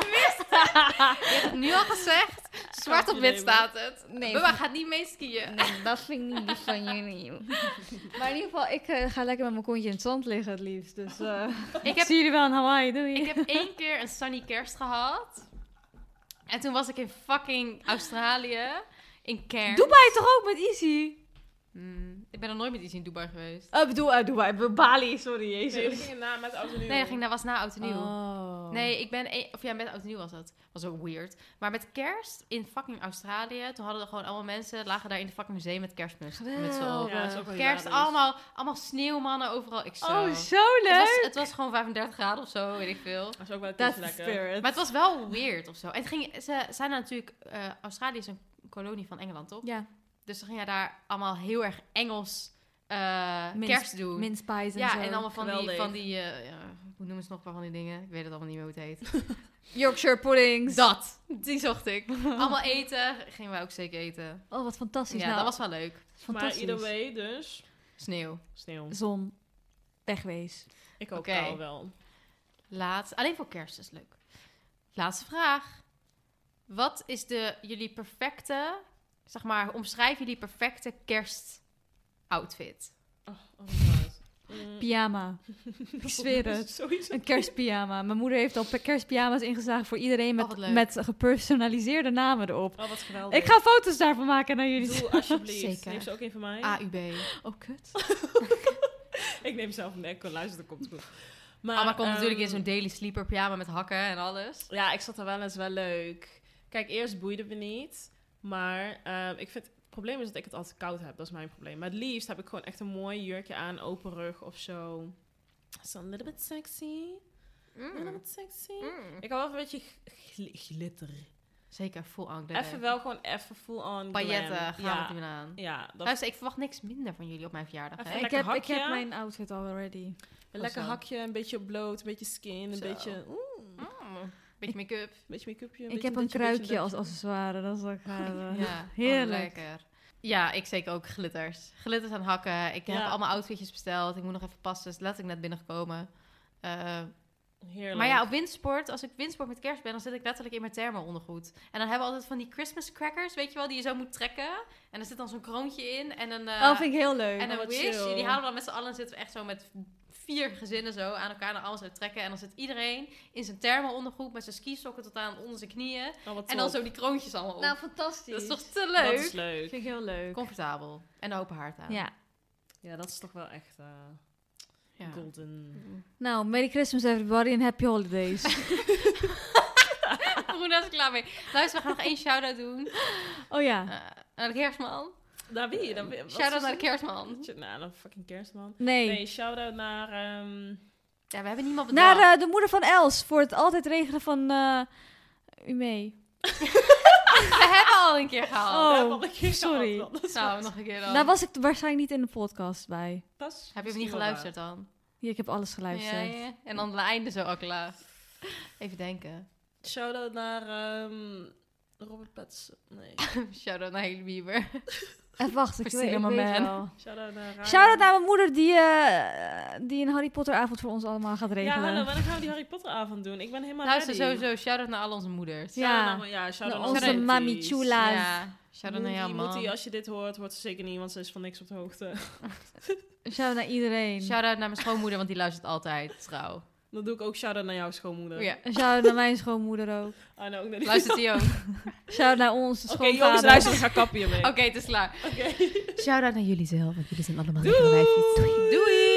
Speaker 3: Je hebt het nu al gezegd. Zwart op wit staat het.
Speaker 4: Nee.
Speaker 3: Bubba gaat niet mee skiën.
Speaker 4: Nee, dat vind ik niet lief van jullie. Maar in ieder geval, ik eh, ga lekker met mijn kontje in het zand liggen het liefst. Dus eh,
Speaker 3: Ik heb
Speaker 4: zie jullie wel in Hawaii, doei.
Speaker 3: Ik heb één keer een sunny kerst gehad. En toen was ik in fucking Australië. In kerst.
Speaker 4: Dubai toch ook met Easy?
Speaker 3: Hmm, ik ben nog nooit met iets in Dubai geweest.
Speaker 4: Uh, bedoel, uit Dubai, Bali, sorry, jezus.
Speaker 5: Nee, we gingen na met oud en nieuw.
Speaker 3: Nee, dat, ging, dat was na Oud en Nieuw.
Speaker 4: Oh.
Speaker 3: Nee, ik ben... een- of ja, met Oud en Nieuw was dat. Was ook weird. Maar met kerst in fucking Australië... Toen hadden er gewoon allemaal mensen... Lagen daar in het fucking museum met kerstmis. Met z'n allen.
Speaker 4: Geweldig.
Speaker 5: Ja, dat is ook wel
Speaker 3: Kerst,
Speaker 5: hilarisch.
Speaker 3: allemaal, allemaal sneeuwmannen overal. Ik zo.
Speaker 4: Oh,
Speaker 3: het,
Speaker 4: zo
Speaker 3: was,
Speaker 4: leuk.
Speaker 3: het was gewoon 35 graden of zo, weet ik veel.
Speaker 5: Dat is ook wel een
Speaker 4: That's
Speaker 5: keertje
Speaker 4: the
Speaker 5: lekker.
Speaker 4: spirit.
Speaker 3: Maar het was wel weird of zo. En het ging, ze zijn er natuurlijk... eh, Australië is een kolonie van Engeland, toch?
Speaker 4: ja,
Speaker 3: Dus dan ging hij daar allemaal heel erg Engels eh,
Speaker 4: Mince-
Speaker 3: kerst doen.
Speaker 4: mince pies en
Speaker 3: ja,
Speaker 4: zo.
Speaker 3: en allemaal van die,
Speaker 5: Geweldig.
Speaker 3: van die eh, ja, hoe noemen ze nog wel van die dingen? Ik weet het allemaal niet meer hoe het heet.
Speaker 4: Yorkshire puddings.
Speaker 3: Dat, die zocht ik. Allemaal eten, gingen wij ook zeker eten.
Speaker 4: Oh, wat fantastisch.
Speaker 3: Ja,
Speaker 4: nou,
Speaker 3: dat was wel leuk.
Speaker 5: Maar
Speaker 4: fantastisch.
Speaker 5: either way, dus...
Speaker 3: Sneeuw.
Speaker 5: Sneeuw.
Speaker 4: Zon, wegwees.
Speaker 5: Ik ook
Speaker 3: Oké.
Speaker 5: al wel.
Speaker 3: Laatste, alleen voor kerst is leuk. Laatste vraag. Wat is de, jullie perfecte, zeg maar, omschrijf jullie perfecte kerstoutfit?
Speaker 5: Oh, oh my god.
Speaker 3: Hm.
Speaker 5: Mm.
Speaker 4: Pyjama. Ik zweer het.
Speaker 5: Sowieso.
Speaker 4: Een kerstpyjama. Mijn moeder heeft al pe- kerstpyjama's ingezaagd voor iedereen
Speaker 3: Oh,
Speaker 4: met,
Speaker 3: wat leuk.
Speaker 4: met gepersonaliseerde namen erop.
Speaker 5: Oh, wat geweldig.
Speaker 4: Ik ga foto's daarvan maken naar jullie.
Speaker 5: Doe alsjeblieft.
Speaker 3: Zeker. Ah,
Speaker 5: Neem ze ook een van mij.
Speaker 3: AUB.
Speaker 4: Oh, kut.
Speaker 5: Ik neem zelf een echo. Luister, dat komt goed. Maar,
Speaker 3: Amma Ah, komt
Speaker 5: ehm,
Speaker 3: natuurlijk in zo'n daily sleeper pyjama met hakken en alles.
Speaker 5: Ja, ik zat er wel eens wel leuk. Kijk, eerst boeide me niet. Maar ehm, ik vind... Het probleem is dat ik het altijd koud heb. Dat is mijn probleem. Maar het liefst heb ik gewoon echt een mooi jurkje aan. Open rug of zo. Is een little bit sexy. A
Speaker 3: Mm.
Speaker 5: little bit sexy. Ik hou wel van een beetje gl- glitter.
Speaker 3: Zeker, full on glitter.
Speaker 5: Even wel gewoon even full on glam.
Speaker 3: Pailletten gaan we het
Speaker 5: ja.
Speaker 3: doen aan.
Speaker 5: Ja, dat
Speaker 3: Luister, ik verwacht niks minder van jullie op mijn verjaardag.
Speaker 5: Even
Speaker 3: hè?
Speaker 4: Ik
Speaker 5: lekker
Speaker 4: heb, ik heb
Speaker 5: hakje.
Speaker 4: mijn outfit already.
Speaker 5: een lekker
Speaker 3: Zo.
Speaker 5: hakje, een beetje bloot, een beetje skin, een
Speaker 3: Zo.
Speaker 5: beetje... Oeh, een
Speaker 3: Mm, beetje make-up.
Speaker 5: beetje make-upje. een
Speaker 4: ik
Speaker 5: beetje
Speaker 4: heb een
Speaker 5: ditje, beetje
Speaker 4: kruikje als
Speaker 5: datje.
Speaker 4: accessoire. Dat is ook gaaf.
Speaker 3: Ja,
Speaker 4: Heerlijk.
Speaker 3: oh, lekker. Ja, ik zeker ook glitters. Glitters aan hakken. Ik
Speaker 5: Ja.
Speaker 3: heb allemaal outfitjes besteld. Ik moet nog even passen. Dus laat ik net binnengekomen. Eh,
Speaker 5: Heerlijk.
Speaker 3: maar ja, op windsport, als ik windsport met kerst ben, dan zit ik letterlijk in mijn thermo ondergoed. En dan hebben we altijd van die Christmas crackers, weet je wel, die je zo moet trekken. En er zit dan zo'n kroontje in en een, eh,
Speaker 4: Oh, vind ik heel leuk.
Speaker 3: en
Speaker 5: oh,
Speaker 3: een
Speaker 5: wat
Speaker 3: wish.
Speaker 5: chill.
Speaker 3: Die halen we dan met z'n allen en zitten we echt zo met vier gezinnen zo aan elkaar naar alles uit trekken. En dan zit iedereen in zijn thermo ondergoed met zijn skisokken tot aan onder zijn knieën.
Speaker 5: Oh, wat
Speaker 3: En dan
Speaker 5: top.
Speaker 3: zo die kroontjes allemaal op.
Speaker 4: Nou, fantastisch.
Speaker 3: dat is toch te
Speaker 5: Dat
Speaker 3: leuk?
Speaker 5: is leuk.
Speaker 4: vind ik heel leuk.
Speaker 3: Comfortabel. En een open haard aan.
Speaker 4: Ja.
Speaker 5: Ja, dat is toch wel echt eh,
Speaker 3: Ja.
Speaker 5: golden.
Speaker 4: Nou, Merry Christmas everybody en Happy Holidays.
Speaker 3: Goed, daar is ik klaar mee. Luister, we gaan nog één shout-out doen.
Speaker 4: oh ja.
Speaker 3: Eh, naar de kerstman.
Speaker 5: Naar Nou, wie? Dan,
Speaker 3: Shout-out naar de kerstman.
Speaker 5: kerstman. Naar een Nou, fucking kerstman.
Speaker 4: Nee.
Speaker 5: Nee, shout-out naar... ehm,
Speaker 3: Ja, we hebben niemand
Speaker 4: Naar
Speaker 3: bedacht.
Speaker 4: eh, de moeder van Els voor het altijd regelen van eh u mee.
Speaker 3: We hebben al een keer gehaald.
Speaker 4: Oh,
Speaker 5: daar had ik geen
Speaker 4: sorry.
Speaker 5: gehad, dat is
Speaker 3: nou,
Speaker 5: wat.
Speaker 3: nog een keer dan.
Speaker 4: Daar was ik waarschijnlijk niet in de podcast bij.
Speaker 5: Dat is
Speaker 3: Heb je hem
Speaker 5: misschien
Speaker 3: niet
Speaker 5: wel
Speaker 3: geluisterd dan?
Speaker 4: Ja, ik heb alles geluisterd.
Speaker 3: Ja, ja. En dan het einde zo al klaar. Even denken.
Speaker 5: waar. Shout-out naar ehm, Robert Pattinson. Nee.
Speaker 3: Shout-out naar Haley Bieber.
Speaker 4: Even wachten, Eh, ik weet,
Speaker 3: Priscilla,
Speaker 4: ik
Speaker 3: my
Speaker 4: weet
Speaker 3: man.
Speaker 4: wel.
Speaker 5: Shout-out naar... Ryan.
Speaker 4: Shout-out naar mijn moeder die, eh, die een Harry Potter avond voor ons allemaal gaat
Speaker 5: Ja,
Speaker 4: regelen.
Speaker 5: hallo, wanneer gaan we die Harry Potter avond doen? Ik ben helemaal
Speaker 3: Luister,
Speaker 5: ready.
Speaker 3: sowieso. Shout-out naar al onze moeders.
Speaker 4: Ja.
Speaker 5: Shout-out naar- ja, shout-out
Speaker 4: Naar
Speaker 5: naar
Speaker 4: onze
Speaker 5: Matties.
Speaker 4: mami Chula.
Speaker 3: Ja. Shout-out naar
Speaker 5: Moetie,
Speaker 3: jou,
Speaker 5: Moetie,
Speaker 3: man.
Speaker 5: als je dit hoort, hoort ze zeker niet, want ze is van niks op de hoogte.
Speaker 4: Shout-out naar iedereen.
Speaker 3: Shout-out naar mijn schoonmoeder, want die luistert altijd trouw.
Speaker 5: Dan doe ik ook shout-out naar jouw schoonmoeder.
Speaker 3: Ja.
Speaker 4: En Shout-out naar mijn schoonmoeder ook.
Speaker 5: Ah, nou, ook naar die-
Speaker 3: Luistert die ook?
Speaker 4: Shout-out naar ons
Speaker 5: Oké,
Speaker 4: schoonvader.
Speaker 5: jongens, luister, we gaan kappen hiermee.
Speaker 3: Oké, het is klaar.
Speaker 5: Oké.
Speaker 3: Shout-out naar jullie zelf, want jullie zijn allemaal
Speaker 5: Doei!
Speaker 3: Doei!